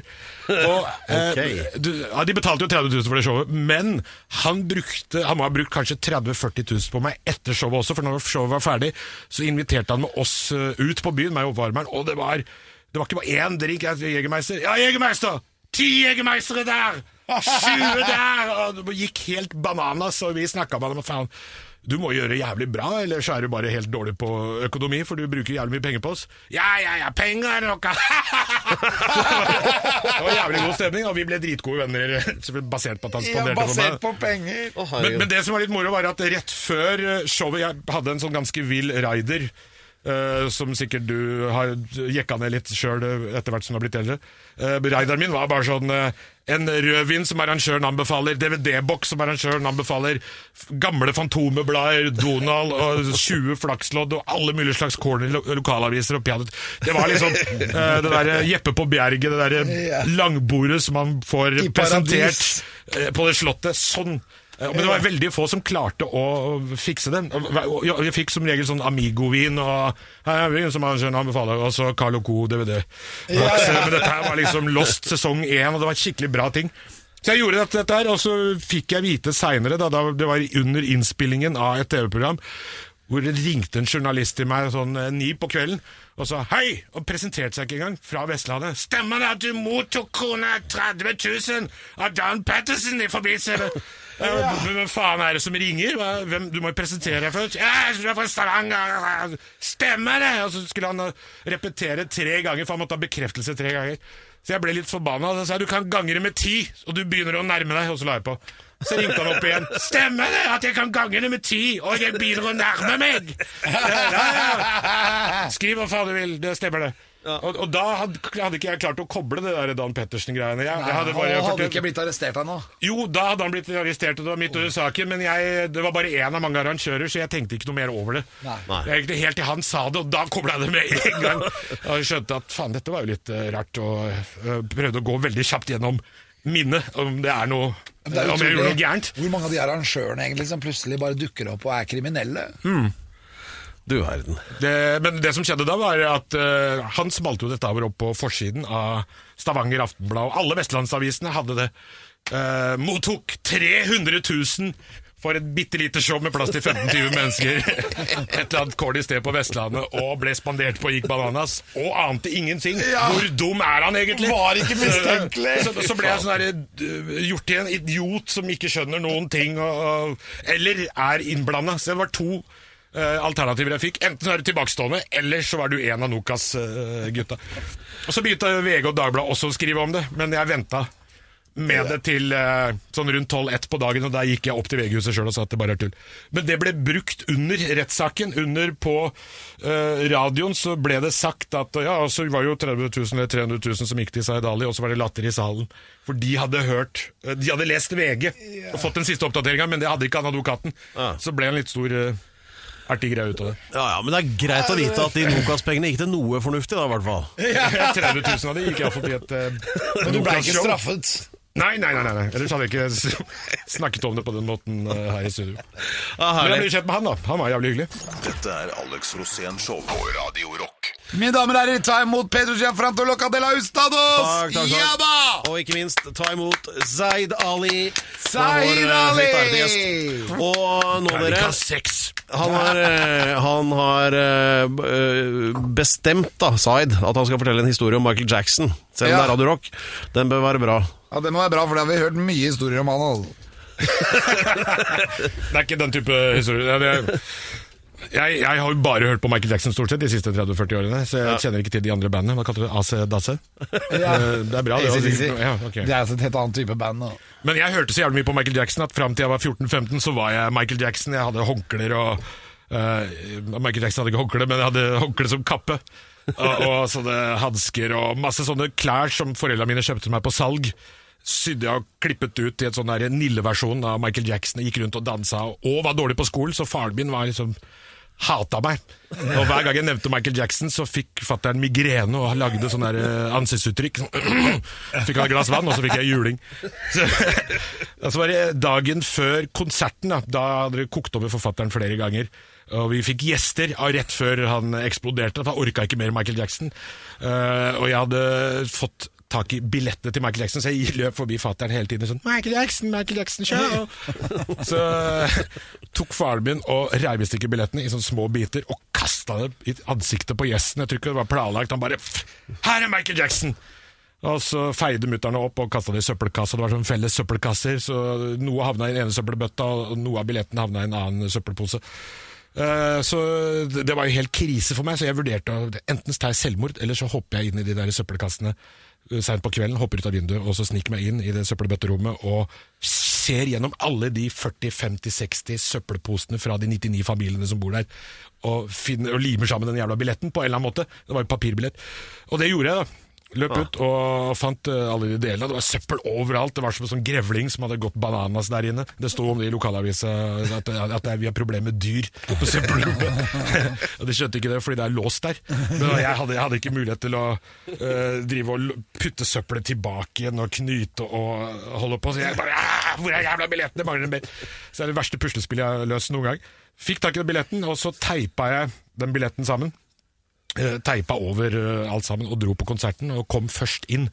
Og, eh,
Ok.
du, ja, de betalte jo 30 000 for det showet, men han brukte Han må ha brukt kanskje 30 000-40 000 på meg etter showet også, for når showet var ferdig, så inviterte han med oss eh, ut på byen, meg og oppvarmeren, og det var Det var ikke bare én drink. jeg- Jegermeister. Ja, Jegermeister! Ti Jegermeistere der! 20 der! Og det gikk helt bananas, og vi snakka med ham og faen du må gjøre jævlig bra, eller så er du bare helt dårlig på økonomi, for du bruker jævlig mye penger på oss. Ja, ja, ja, penger er noe! det var jævlig god stemning, og vi ble dritgode venner, selvfølgelig basert på at han
Ja,
spanderte på meg.
basert på penger.
Å, herregud.
Men, men det som var litt moro, var at rett før eh, showet Jeg hadde en sånn ganske vill rider, eh, som sikkert du har jekka ned litt sjøl etter hvert som du har blitt eldre. Eh, rideren min var bare sånn eh, en rødvin som arrangøren anbefaler, DVD-boks som arrangøren anbefaler, f- gamle Fantomet-blader, Donald og 20 flakslodd og alle mulige slags corny lo lokalaviser og peanøtt. Det var liksom eh, det derre Jeppe på Bjerget, det derre langbordet som han får
I
presentert
paradis.
eh, på det slottet. Sånn. Eh, Men det var veldig få som klarte å fikse det. Og Jeg jeg fikk som regel sånn Amigo-vin og her er vi, som han skjønner anbefaler, og så Carl Co. DVD. Så- Men dette her var liksom Lost sesong én, og det var skikkelig bra ting. Så jeg gjorde dette, dette her, og så fikk jeg vite seinere, da, da det var under innspillingen av et TV-program, hvor det ringte en journalist til meg sånn eh, ni på kvelden og sa hei! Og presenterte seg ikke engang, fra Vestlandet. Stemmer det at du mottok krone 30 000 av Dan Patterson i forbindelse med ja. men Hvem faen er det som ringer? Hva- Hvem, du må jo presentere deg først. Ja, jeg er fra Stavanger! Stemmer det! Og så skulle han eh, repetere tre ganger, for han måtte ha bekreftelse tre ganger. Så jeg ble litt forbanna. og Så sa jeg du kan gange det med ti, og du begynner å nærme deg. Og så la jeg på. Så ringte han opp igjen. Stemmer det at jeg kan gange det med ti, og jeg begynner å nærme meg? Ja, ja, ja. Skriv hva faen du vil, det stemmer det. Og, og da hadde, hadde ikke jeg klart å koble det der Dan Pettersen-greiene. Jeg, jeg hadde bare
Å, hadde
fortalt-
ikke blitt arrestert ennå.
jo, da hadde han blitt arrestert, og det var midt under saken, men jeg, det var bare én av mange arrangører, så jeg tenkte ikke noe mer over det.
Nei.
Det er Egentlig helt til han sa det, og da kobla jeg det med en gang. Og jeg skjønte at faen, dette var jo litt eh, rart, og eh, prøvde å gå veldig kjapt gjennom minnet, om det er noe
Det er
Om jeg gjorde
utrolig
noe gærent.
Hvor mange av de arrangørene egentlig som plutselig bare dukker opp og er kriminelle?
Mm.
Du verden.
Det, men det som skjedde da, var at eh, han smalt jo dette over opp på forsiden av Stavanger Aftenblad, og alle vestlandsavisene hadde det. Eh, mottok 300 000 for et bitte lite show med plass til 15-20 mennesker. Et eller annet corny sted på Vestlandet, og ble spandert på og gikk bananas, og ante ingenting. Hvor dum er han egentlig?
Var ikke mistenkelig.
Så, så, så ble jeg sånn der, eh, gjort til en idiot som ikke skjønner noen ting, og, og, eller er innblanda. Så det var to eh, alternativer jeg fikk. Enten så er du tilbakestående, eller så er du en av Nokas-gutta. og så begynte VG og Dagbladet også å skrive om det, men jeg venta. Med det til eh, sånn rundt 12-1 på dagen, og der gikk jeg opp til VG-huset sjøl og sa at det bare er tull. Men det ble brukt under rettssaken. Under på eh, radioen så ble det sagt at Ja, og så var det jo 30 000 eller 300 000 som gikk til Zaid Ali, og så var det latter i salen. For de hadde hørt eh, De hadde lest VG og fått den siste oppdateringa, men det hadde ikke han advokaten. Så ble en litt stor uh, ertig greie ut av det.
Ja, ja, Men det er greit å vite at de Nokas-pengene gikk til noe fornuftig, da, i hvert fall.
30 000 av det gikk iallfall til et eh,
Men du ble ikke
Nokas-show.
straffet.
Nei, nei, nei, nei, nei. Ellers hadde jeg ikke s- snakket om det på den måten eh, her i studio.
Ja,
Men jeg
herlig.
ble kjent med han, da. Han var jævlig hyggelig.
Dette er Alex Rosén Show på Radio Rock.
Mine damer og herrer, ta imot Pedro Gianfranto Locadella Ustados!
Takk, takk, takk.
Ja da!
Og ikke minst, ta imot Zaid Ali. som er
Zaid
vår, eh,
Ali!
litt ærede gjest. Og nå, dere
seks.
Han har, eh, han har eh, b- eh, bestemt, da, Zaid, at han skal fortelle en historie om Michael Jackson. Selv om
Ja.
det er Radio Rock. Den bør være bra.
Ja, Det må være bra, for da har vi hørt mye historier om han. altså.
Det er ikke den type historie. Det er, det Jeg, jeg har jo bare hørt på Michael Jackson stort sett de siste 30-40 årene, så jeg kjenner ikke til de andre bandene. Hva kalte du det? AC Dasse? Eh, Det er bra, det.
ACDC.
Ja, ok.
Det er altså et helt annet type band. Da.
Men jeg hørte så jævlig mye på Michael Jackson at fram til jeg var 14-15, så var jeg Michael Jackson. Jeg hadde håndklær og eh, Michael Jackson hadde ikke håndkle, men jeg hadde håndkle som kappe. og, og sånne hansker og masse sånne klær som foreldra mine kjøpte meg på salg. Sydde jeg og klippet ut i et sånn der nilleversjon av Michael Jackson. Jeg Gikk rundt og dansa og var dårlig på skolen, så faren min var liksom hata meg. Og hver gang jeg nevnte Michael Jackson, så fikk fatter'n migrene og han lagde sånn der eh, ansiktsuttrykk. Sånn, fikk han et glass vann, og så fikk jeg juling. Så, og så var det dagen før konserten, da, da hadde det kokt over forfatteren flere ganger. Og vi fikk gjester av rett før han eksploderte, for han orka ikke mer Michael Jackson. Eh, og jeg hadde fått tak i billettene til Michael Jackson, så jeg løp forbi fatter'n hele tiden sånn 'Michael Jackson, Michael Jackson, show!» Så eh, tok faren min og reivestikket billettene i sånne små biter og kasta dem i ansiktet på gjesten. Jeg tror ikke det var planlagt. Han bare «Pff, 'Her er Michael Jackson!' Og så feide mutter'n opp og kasta det i søppelkassa. Det var sånn felles søppelkasser, så noe havna i den ene søppelbøtta, og noe av billetten havna i en annen søppelpose. Eh, Så det det var jo helt krise for meg, så jeg vurderte å enten tar jeg selvmord, eller så hopper jeg inn i de der søppelkassene eh, sent på kvelden, hopper ut av vinduet, og så sniker meg inn i det søppelbøtterommet og ser gjennom alle de 40-50-60 søppelposene fra de 99 familiene som bor der, og, finner, og limer sammen den jævla billetten på en eller annen måte. Det var jo papirbillett. Og det gjorde jeg, da. Løp ut og fant eh, alle de delene. Det var søppel overalt. Det var som en sånn grevling som hadde gått bananas der inne. Det sto om det i lokalavisa at, at det er, vi har problemer med dyr på søppelrommet. og de skjønte ikke det fordi det er låst der. Men jeg hadde, jeg hadde ikke mulighet til å eh, drive og l- putte søppelet tilbake igjen og knyte og holde på. Så jeg bare «Ah, Hvor er jævla billettene? Mangler mer. Så det er det verste puslespillet jeg har løst noen gang. Fikk tak i den billetten, og så teipa jeg den billetten sammen eh, teipa over eh, alt sammen og dro på konserten og kom først inn.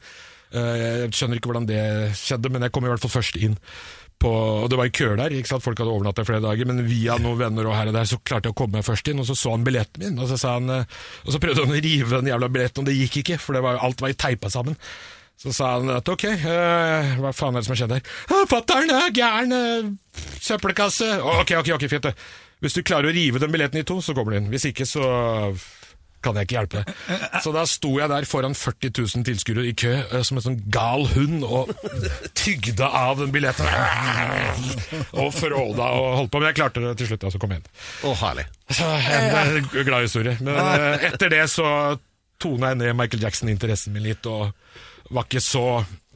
Eh, jeg skjønner ikke hvordan det skjedde, men jeg kom i hvert fall først inn. På, og Det var i køer der, ikke sant? folk hadde overnatta i flere dager, men via noen venner og her og der så klarte jeg å komme meg først inn. og Så så han billetten min, og så, sa han, eh, og så prøvde han å rive den jævla billetten, og det gikk ikke, for det var, alt var i teipa sammen. Så sa han at ok, eh, hva faen er det som har skjedd her? «Ah, Fatter'n er gæren! eh, søppelkasse! Ok, ok, ok, fint det. Hvis du klarer å rive den billetten i to, så kommer du inn. Hvis ikke, så kan jeg ikke hjelpe deg. Så da sto jeg der foran 40 000 tilskuere i kø eh, som en sånn gal hund og tygde av den billetten. Og fråda og holdt på. Men jeg klarte det til slutt, altså. Kom igjen.
Å, herlig.
Så en eh, glad historie. Men eh, etter det så tona jeg ned Michael Jackson-interessen min litt, og var ikke så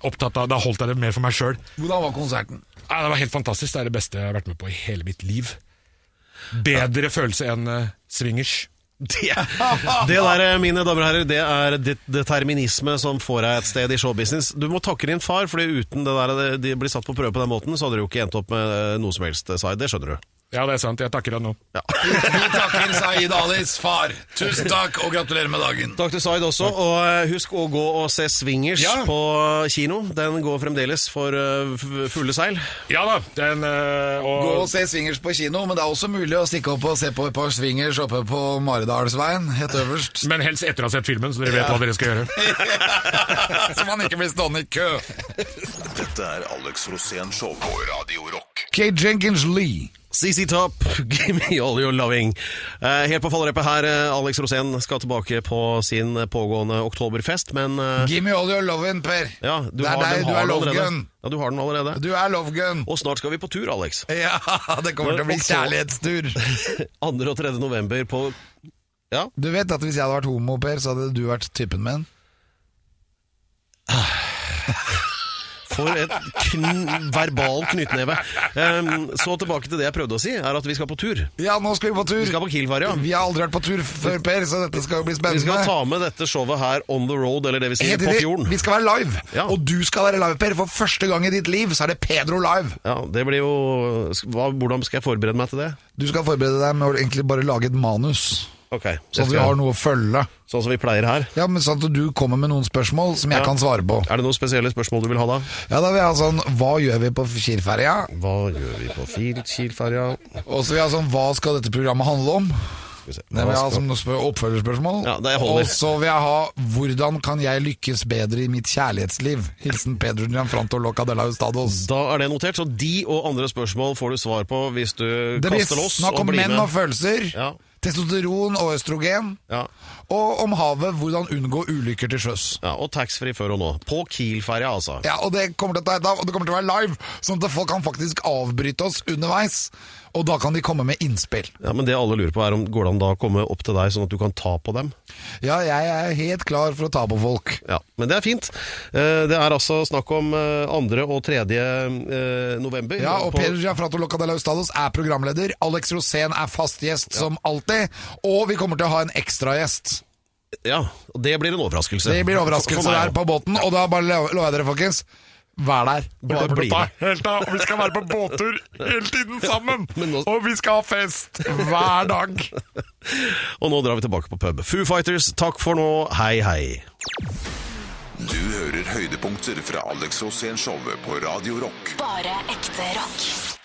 opptatt av Da holdt jeg det mer for meg sjøl.
Hvordan var konserten?
Ja, det var helt fantastisk. Det er det beste jeg har vært med på i hele mitt liv. Bedre følelse enn eh, swingers.
Det, det der, eh, mine damer og herrer, det er det- determinisme som får deg et sted i showbusiness. Du må takke din far, fordi uten det der eh, de blir satt på prøve på den måten, så hadde du jo ikke endt opp med eh, noe som helst, Sai. Det skjønner du.
Ja, det er sant. Jeg takker deg nå.
Ja.
Vi takker Saeed Alis far. Tusen takk, og gratulerer med dagen.
Takk til Zaid også, og eh, husk å gå og se Swingers
Ja.
på kino. Den går fremdeles for eh, f- fulle seil.
Ja da, den eh, og,
Gå og se swingers på kino, men det er også mulig å stikke opp og se på et par swingers oppe på Maridalsveien, helt øverst.
Men helst etter å ha sett filmen, så dere vet hva dere skal gjøre.
Så man ikke blir stående i kø.
Dette er Alex Rosén Show på Radio Rock.
Kate Jenkins Lee.
CC Top, give me all your loving. Eh, helt på fallerepet her, eh, Alex Rosén skal tilbake på sin pågående oktoberfest, men eh,
Give me all your lovin', Per.
Ja, du
det er
har, den
deg, du
har
er
den allerede.
lovgun.
Ja, du har den allerede.
Du er lovgun.
Og snart skal vi på tur, Alex.
Ja, det kommer til å bli kjærlighetstur.
2. og 3. november på Ja,
Du vet at hvis jeg hadde vært homo, Per, så hadde du vært typen min.
for et kn verbal knyttneve. Ehm, så tilbake til det jeg prøvde å si, er at vi skal på tur.
Ja, nå skal vi på tur.
Vi skal på Kielferja.
Vi har aldri vært på tur før, Per, så dette skal jo bli
Vi
spennende.
skal ta med dette showet her on the road, eller det vil si
Helt
på
riktig.
fjorden.
Vi skal være live,
Ja.
og du skal være live, Per. For første gang i ditt liv så er det Pedro live.
Ja, det blir jo hva, Hvordan skal jeg forberede meg til det?
Du skal forberede deg med å egentlig bare lage et manus,
Ok,
sånn
jeg
at vi
skal-
har noe å følge.
sånn som vi pleier her.
Ja, men Sånn at du kommer med noen spørsmål som jeg
Ja.
kan svare på.
Er det noen spesielle spørsmål du vil ha da?
Ja, da vil jeg ha sånn Hva gjør vi på Kielferja?
Hva gjør vi på Fil- Kielferja?
Og så vil jeg ha sånn Hva skal dette programmet handle om?
Skal vi se.
Det vil jeg ha som noe spør- oppfølgerspørsmål.
Ja, det holder.
og så vil jeg ha 'Hvordan kan jeg lykkes bedre i mitt kjærlighetsliv?' Hilsen Pedro Gianfranto Locadella Ustados.
Da er det notert. Så de og andre spørsmål får du svar på hvis du
Det blir
kaster loss
snakk
og
om
blir
menn
med.
og følelser,
Ja.
testosteron og østrogen,
Ja.
og om havet, hvordan unngå ulykker til sjøs.
Ja, og taxfree før og nå. På Kiel-ferja, altså.
Ja, og det kommer til å ta et av, og det kommer til å være live, sånn at folk kan faktisk avbryte oss underveis, og da kan de komme med innspill.
Ja, Men det alle lurer på, er om går det an da å komme opp til deg, sånn at du kan ta på dem?
Ja, jeg er helt klar for å ta på folk.
Ja, Men det er fint. Eh, Det er altså snakk om eh, 2. og 3. eh, november.
Ja, og
På-
Peder Gianfranto Locadella Ustados er programleder. Alex Rosén er fast gjest, som alltid. Og vi kommer til å ha en ekstragjest.
Ja, og det blir en overraskelse. Sånn
Det blir
For-
overraskelse
for meg
der
også.
på båten, og da bare lo- lover jeg dere, folkens. Vær der.
Bare bli med.
Helt av. Og vi skal være på båttur hele tiden sammen.
Men nå-
Og vi skal ha fest hver dag.
Og nå drar vi tilbake på pub. Foo Fighters, takk for nå. Hei, hei.
Du hører høydepunkter fra Alex Rosén-showet på Radio Rock.
Bare ekte rock.